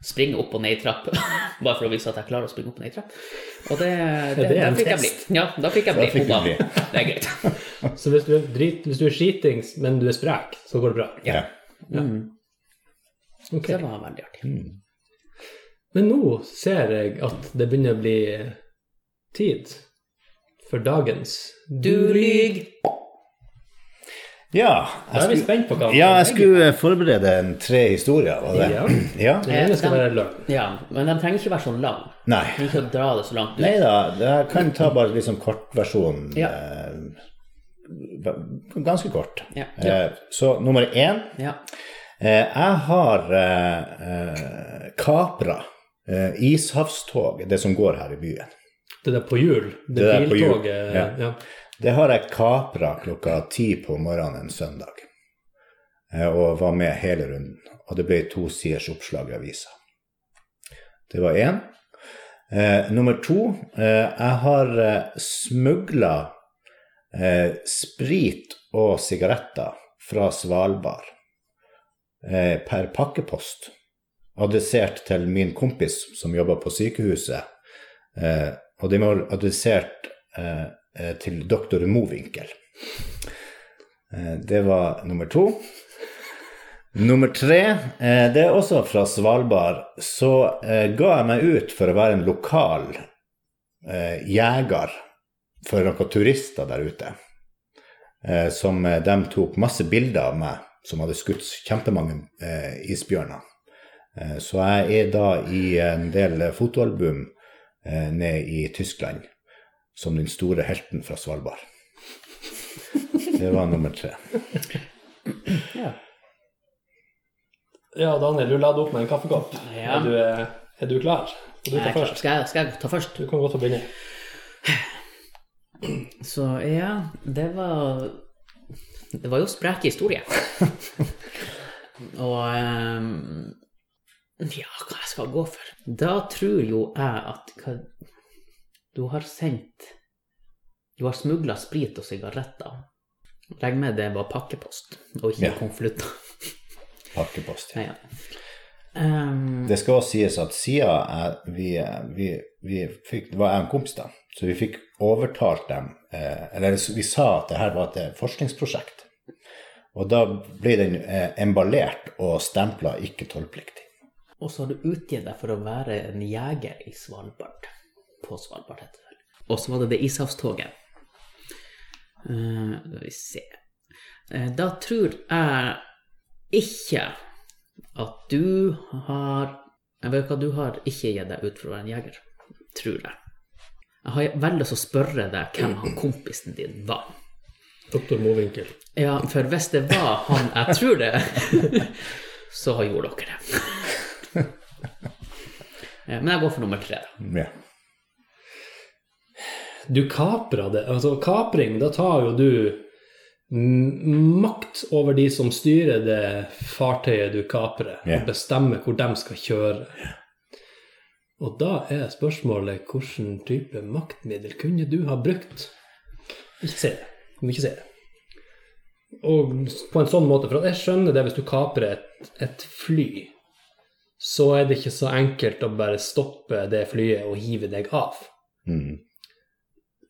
Speaker 2: springe opp og ned i trapp, bare for å vise at jeg klarer å springe opp og ned i trapp. Og det, det,
Speaker 1: Det er en
Speaker 2: da fikk jeg bli.
Speaker 1: test.
Speaker 2: Ja, da fikk jeg
Speaker 3: Da
Speaker 2: bli.
Speaker 3: fikk du
Speaker 2: Oba.
Speaker 3: bli.
Speaker 2: Det er greit.
Speaker 1: Så hvis du, er drit, hvis du er skitings, men du er sprek, så går det bra.
Speaker 3: Ja.
Speaker 2: Mm.
Speaker 1: Ok.
Speaker 2: Det var veldig artig.
Speaker 1: Men nå ser jeg at det begynner å bli tid for dagens
Speaker 2: Du lyg!
Speaker 3: ja.
Speaker 1: Da er vi
Speaker 3: Jeg skulle,
Speaker 1: spent på hva
Speaker 3: ja, jeg skulle forberede en tre historier, var
Speaker 1: Ja.
Speaker 3: det? Ja.
Speaker 1: Den ene skal være løgn.
Speaker 2: Ja, men den trenger ikke være så lang.
Speaker 3: Nei.
Speaker 2: Den trenger ikke å dra det så langt ut.
Speaker 3: Nei da, jeg kan ta bare liksom kortversjonen.
Speaker 2: Ja.
Speaker 3: eh, Ganske kort.
Speaker 2: Ja.
Speaker 3: Eh, Så nummer én
Speaker 2: Ja.
Speaker 3: eh, Jeg har eh, eh, kapra eh, ishavstoget, det som går her i byen.
Speaker 1: Det der på hjul. Det,
Speaker 3: der på hjul,
Speaker 1: biltoget.
Speaker 3: ja.
Speaker 1: Ja.
Speaker 3: Det har jeg kapra klokka ti på morgenen en søndag. Eh, Og var med hele runden. Og det ble to siders oppslag i avisa. Det var én. Eh, nummer to eh, Jeg har eh, smugla eh, sprit og sigaretter fra Svalbard eh, per pakkepost. Adressert til min kompis som jobber på sykehuset. Eh, og de var adressert eh, eh, til doktor Mowinckel. Eh, det var nummer to. Nummer tre, eh, det er også fra Svalbard, så eh, ga jeg meg ut for å være en lokal eh, jeger for noen turister der ute. Eh, som eh, de tok masse bilder av meg, som hadde skutt kjempemange eh, isbjørner. Eh, så jeg er da i en del eh, fotoalbum eh, nede i Tyskland som den store helten fra Svalbard. Det var nummer tre.
Speaker 2: Ja.
Speaker 1: Ja, Daniel, du lader opp med en kaffekopp.
Speaker 2: Ja.
Speaker 1: Er, du, eh, er du klar? Du
Speaker 2: Jeg
Speaker 1: tar
Speaker 2: er klar.
Speaker 1: først.
Speaker 2: Skal, jeg, skal jeg ta først?
Speaker 1: Du kan godt få begynne.
Speaker 2: Så ja, det var Det var jo spreke historier. Og ehm, Ja, hva jeg skal gå for? Da tror jo jeg at hva, du har sendt Du har smugla sprit og sigaretter. Legg med det var pakkepost og ikke
Speaker 3: Ja.
Speaker 2: konvolutter.
Speaker 3: Pakkepost.
Speaker 2: Ja, ja. Ehm,
Speaker 3: Det skal også sies at siden jeg, vi, eh, vi, vi fikk, det var jeg og en kompis da, så vi fikk overtalt dem, eh, eller vi sa at det her var et eh, forskningsprosjekt. Og da ble den eh, emballert og stempla ikke tollpliktig.
Speaker 2: Og så har du utgitt deg for å være en jeger i Svalbard. På Svalbard, heter det vel. Og så var det det ishavstoget. Eh, Skal vi se Eh, Da tror jeg ikke at du har Jeg vet hva du har ikke gitt deg ut for å være en jeger. Tror jeg. Jeg har veldig lyst til å spørre deg hvem han kompisen din var.
Speaker 1: Doktor Mowinckel.
Speaker 2: Ja, for hvis det var han jeg tror det, så har gjort dere det. Eh, Men jeg går for nummer tre. da.
Speaker 3: Ja.
Speaker 1: Du kapra det. Altså, kapring, da tar jo du m- makt over de som styrer det fartøyet du kaprer,
Speaker 3: Ja.
Speaker 1: og bestemmer hvor de skal kjøre. Og da er spørsmålet hvilken type maktmiddel kunne du ha brukt? Ikke se det. Du må ikke se det. Og på en sånn måte, for at jeg skjønner det hvis du kaprer et, et fly, så er det ikke så enkelt å bare stoppe det flyet og hive deg av.
Speaker 3: Mm.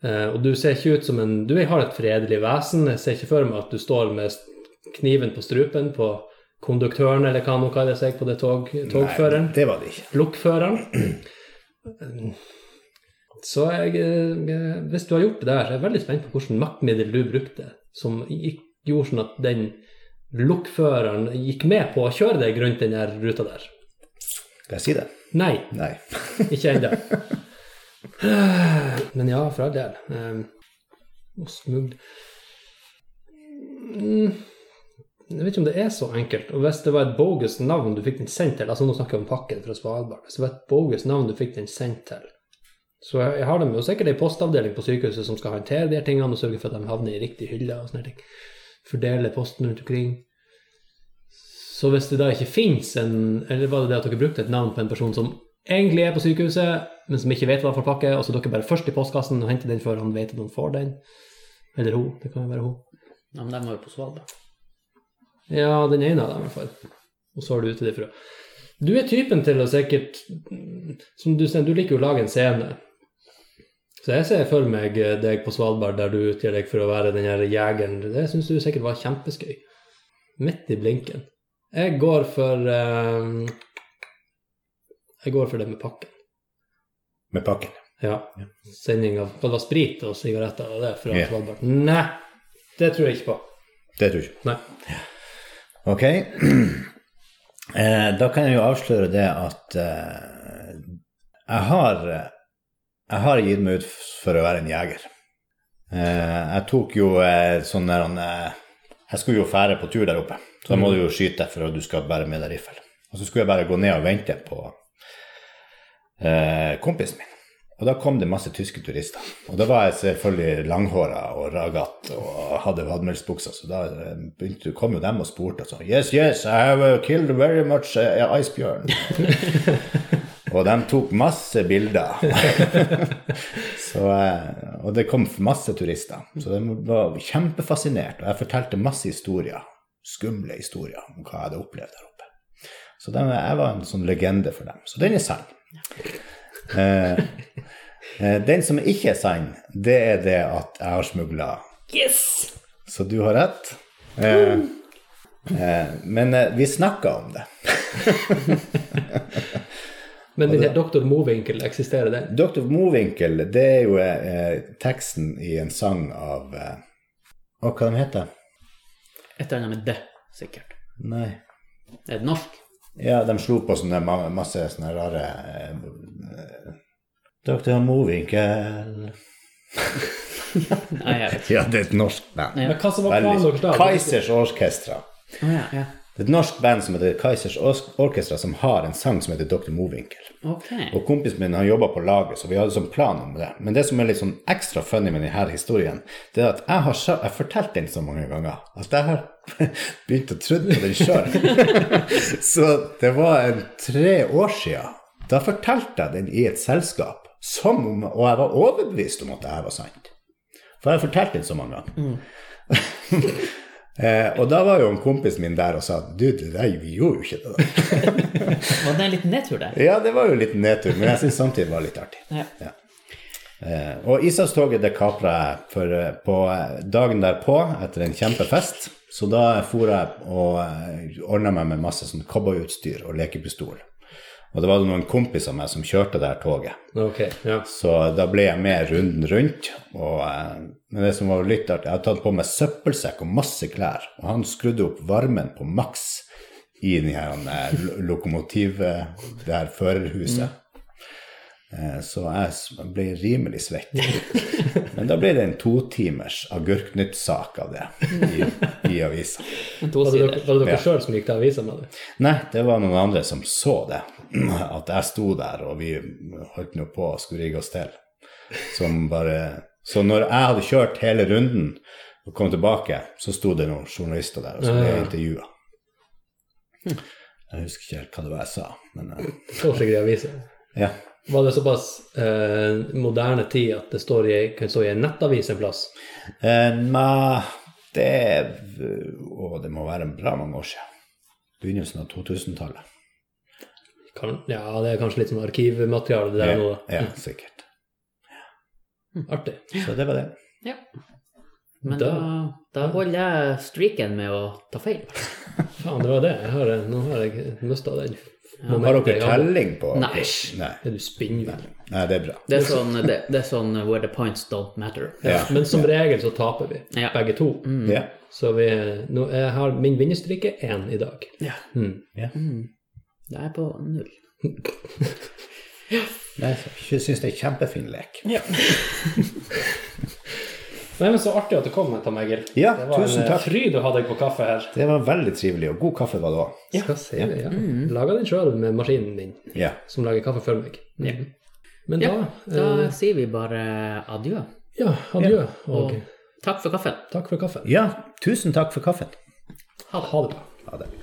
Speaker 1: Eh, og du ser ikke ut som en Du har et fredelig vesen. Jeg ser ikke for meg at du står med st- kniven på strupen på konduktøren, eller hva han nå kaller seg på det tog, togføreren.
Speaker 3: Nei, det var det ikke.
Speaker 1: Lokføreren. Så jeg, eh, hvis du har gjort det der, så er jeg veldig spent på hvilket maktmiddel du brukte, som gikk, gjorde sånn at den lokføreren gikk med på å kjøre deg rundt den der ruta der.
Speaker 3: Skal jeg si det?
Speaker 1: Nei,
Speaker 3: Nei.
Speaker 1: ikke ennå. Men ja, for all del. Ehm, Og smugl Mm, Jeg vet ikke om det er så enkelt. Og hvis det var et bogus navn du fikk den sendt til altså Nå snakker jeg om pakken fra Svalbard. Hvis det var et bogus navn du fikk den sendt til Så jeg, jeg har dem jo sikkert ei postavdeling på sykehuset som skal håndtere de her tingene og sørge for at de havner i riktig hylle og sånne ting. Fordele posten rundt omkring. Så hvis det da ikke fins en Eller var det det at dere brukte et navn på en person som egentlig er på sykehuset, men som ikke vet hva for pakke, og så dere bare først i postkassen og henter den før han vet at han får den? Eller hun. Det kan jo være hun.
Speaker 2: Ja, men de var jo på Svalbard.
Speaker 1: Ja, den ene av dem i hvert fall. Og så har du ute det fra. Du er typen til å sikkert Som du sier, du liker jo å lage en scene. Så jeg ser for meg eh, deg på Svalbard der du utgir deg for å være den her jegeren. Det syns du sikkert var kjempeskøy. Midt i blinken. Jeg går for eh, Jeg går for det med pakken.
Speaker 3: Med pakken.
Speaker 1: Ja. Sending av hva det var sprit og sigaretter og det fra
Speaker 3: Ja.
Speaker 1: Svalbard. Nei, det tror jeg ikke på.
Speaker 3: Det tror jeg ikke.
Speaker 1: Nei.
Speaker 3: Ok. Eh, Da kan jeg jo avsløre det at eh, jeg har, eh, jeg har gitt meg ut for å være en jeger. Eh, jeg tok jo eh, sånn der han eh, Jeg skulle jo fære på tur der oppe, så da må du jo skyte for at du skal bære med deg riffel. Og så skulle jeg bare gå ned og vente på eh, kompisen min. Og da kom det masse tyske turister. Og da var jeg selvfølgelig langhåra og ragatt og hadde vadmelsbukser, så da eh, begynte, kom jo dem og spurte og sånn Yes, yes, I have uh, killed very much uh, icebjørn. Og de tok masse bilder. så, eh, og det kom masse turister. Så de var kjempefascinert. Og jeg fortalte masse historier, skumle historier, om hva jeg hadde opplevd der oppe. Så de, jeg var en sånn legende for dem. Så den er sann. Eh, eh, den som ikke er sann, det er det at jeg har smugla. Så du har rett. Eh, eh, men eh, vi snakka om det.
Speaker 1: Men den her doktor Mowinckel, eksisterer den?
Speaker 3: Dr. Mowinckel, det er jo eh, teksten i en sang av eh, Å, hva de heter
Speaker 2: Et eller annet med det, sikkert.
Speaker 3: Nei.
Speaker 2: Er det norsk?
Speaker 3: Ja, de slo på sånne ma- masse sånne rare eh, eh, Dr. Mowinckel
Speaker 2: Nei, jeg vet ikke.
Speaker 3: Ja, det er et norsk band.
Speaker 2: Ja.
Speaker 1: Men hva som var planen
Speaker 3: Veldig.
Speaker 1: deres da?
Speaker 3: Kaisers Orkestra.
Speaker 2: Å, ja, ja.
Speaker 3: Det er et norsk band som heter Kaisers Os- Orkestra, som har en sang som heter Dr. Mowinckel.
Speaker 2: Ok.
Speaker 3: Og kompisen min han jobba på laget, så vi hadde sånn plan om det. Men det som er litt sånn ekstra funny med denne historien, det er at jeg har sjøl- jeg har fortalt den så mange ganger at jeg har begynt å tro på den sjøl. så det var en tre år sia. Da fortalte jeg den i et selskap, som om, og jeg var overbevist om at det her var sant. For jeg har fortalt den så mange ganger. eh, og da var jo en kompis min der og sa du, det der vi gjorde jo ikke det. der».
Speaker 2: Var det en liten nedtur der?
Speaker 3: Ja, det var jo litt nedtur, men jeg syns samtidig det var litt artig.
Speaker 2: Ja.
Speaker 3: Eh, og Ishavstoget det kapra jeg for eh, på eh, dagen derpå etter en kjempefest. Så da for jeg og ordna meg med masse sånn cowboyutstyr og lekepistol. Og det var noen kompiser av meg som kjørte det her toget.
Speaker 1: Ok, ja.
Speaker 3: Så da ble jeg med runden rundt. Og eh, men det som var litt artig, jeg hadde tatt på meg søppelsekk og masse klær. Og han skrudde opp varmen på maks i den her eh, lo- lokomotiv, eh, det her førerhuset. Eh, Så jeg s- ble rimelig svett. Men da ble det en totimers agurknyttsak av det i, i avisa.
Speaker 2: En to
Speaker 1: Var det dere,
Speaker 2: sider.
Speaker 1: var det dere
Speaker 3: Ja.
Speaker 1: selv som gikk til avisa med det?
Speaker 3: Nei, det var noen andre som så det. At jeg sto der, og vi holdt nå på og skulle rigge oss til. Som bare Så når jeg hadde kjørt hele runden og kom tilbake, så sto det noen journalister der og så ble jeg intervjua. Jeg husker ikke helt hva det var jeg sa, men eh,
Speaker 1: Står sikkert i avisa.
Speaker 3: ja.
Speaker 1: Var det såpass eh, moderne tid at det står i, kan stå i en nettavis en plass?
Speaker 3: Eh, Nei, det Å, det må være bra mange år siden. Begynnelsen av 2000-tallet.
Speaker 1: Kan, ja, det er kanskje litt sånn arkivmateriale det der nå.
Speaker 3: Ja,
Speaker 1: da.
Speaker 3: ja, sikkert.
Speaker 1: Artig.
Speaker 3: Så det var det.
Speaker 2: Ja. Men
Speaker 1: Da-
Speaker 2: da, da holder jeg streaken med å ta feil.
Speaker 1: Faen, det var det. Jeg har, nå har jeg mista den.
Speaker 3: Har
Speaker 1: momentet
Speaker 3: dere
Speaker 1: jeg hadde.
Speaker 3: telling på
Speaker 2: Nei.
Speaker 3: Nei.
Speaker 1: Er du spinnvill?
Speaker 3: Nei, det er bra.
Speaker 2: Det er sånn, det, det er sånn where the points don't matter.
Speaker 3: Ja. Mm.
Speaker 1: Men som regel så taper vi,
Speaker 2: Ja. Mm.
Speaker 1: begge to.
Speaker 3: Ja.
Speaker 1: Så vi, nå, jeg har min vinnerstrike én i dag.
Speaker 2: Ja.
Speaker 1: Mm.
Speaker 2: Da er jeg på null.
Speaker 3: Nei, Jeg syns det er kjempefin lek.
Speaker 1: Nei, men Så artig at du kom, Tom Egil.
Speaker 3: Ja,
Speaker 1: det var
Speaker 3: tusen
Speaker 1: en
Speaker 3: takk.
Speaker 1: eh, fryd å ha deg på kaffe her.
Speaker 3: Det var veldig trivelig, og god kaffe var det òg.
Speaker 1: Skal se, ja. Mm. Laga den sjøl med maskinen min,
Speaker 3: Ja.
Speaker 1: som lager kaffe for meg. Mhm. Men da,
Speaker 2: Mm. Ja, eh, da sier vi bare adjø.
Speaker 1: eh, ja adjø, og
Speaker 2: Og takk for kaffen.
Speaker 1: takk for kaffen.
Speaker 3: ja, tusen takk for kaffen.
Speaker 1: Ha det bra.
Speaker 3: Ha det.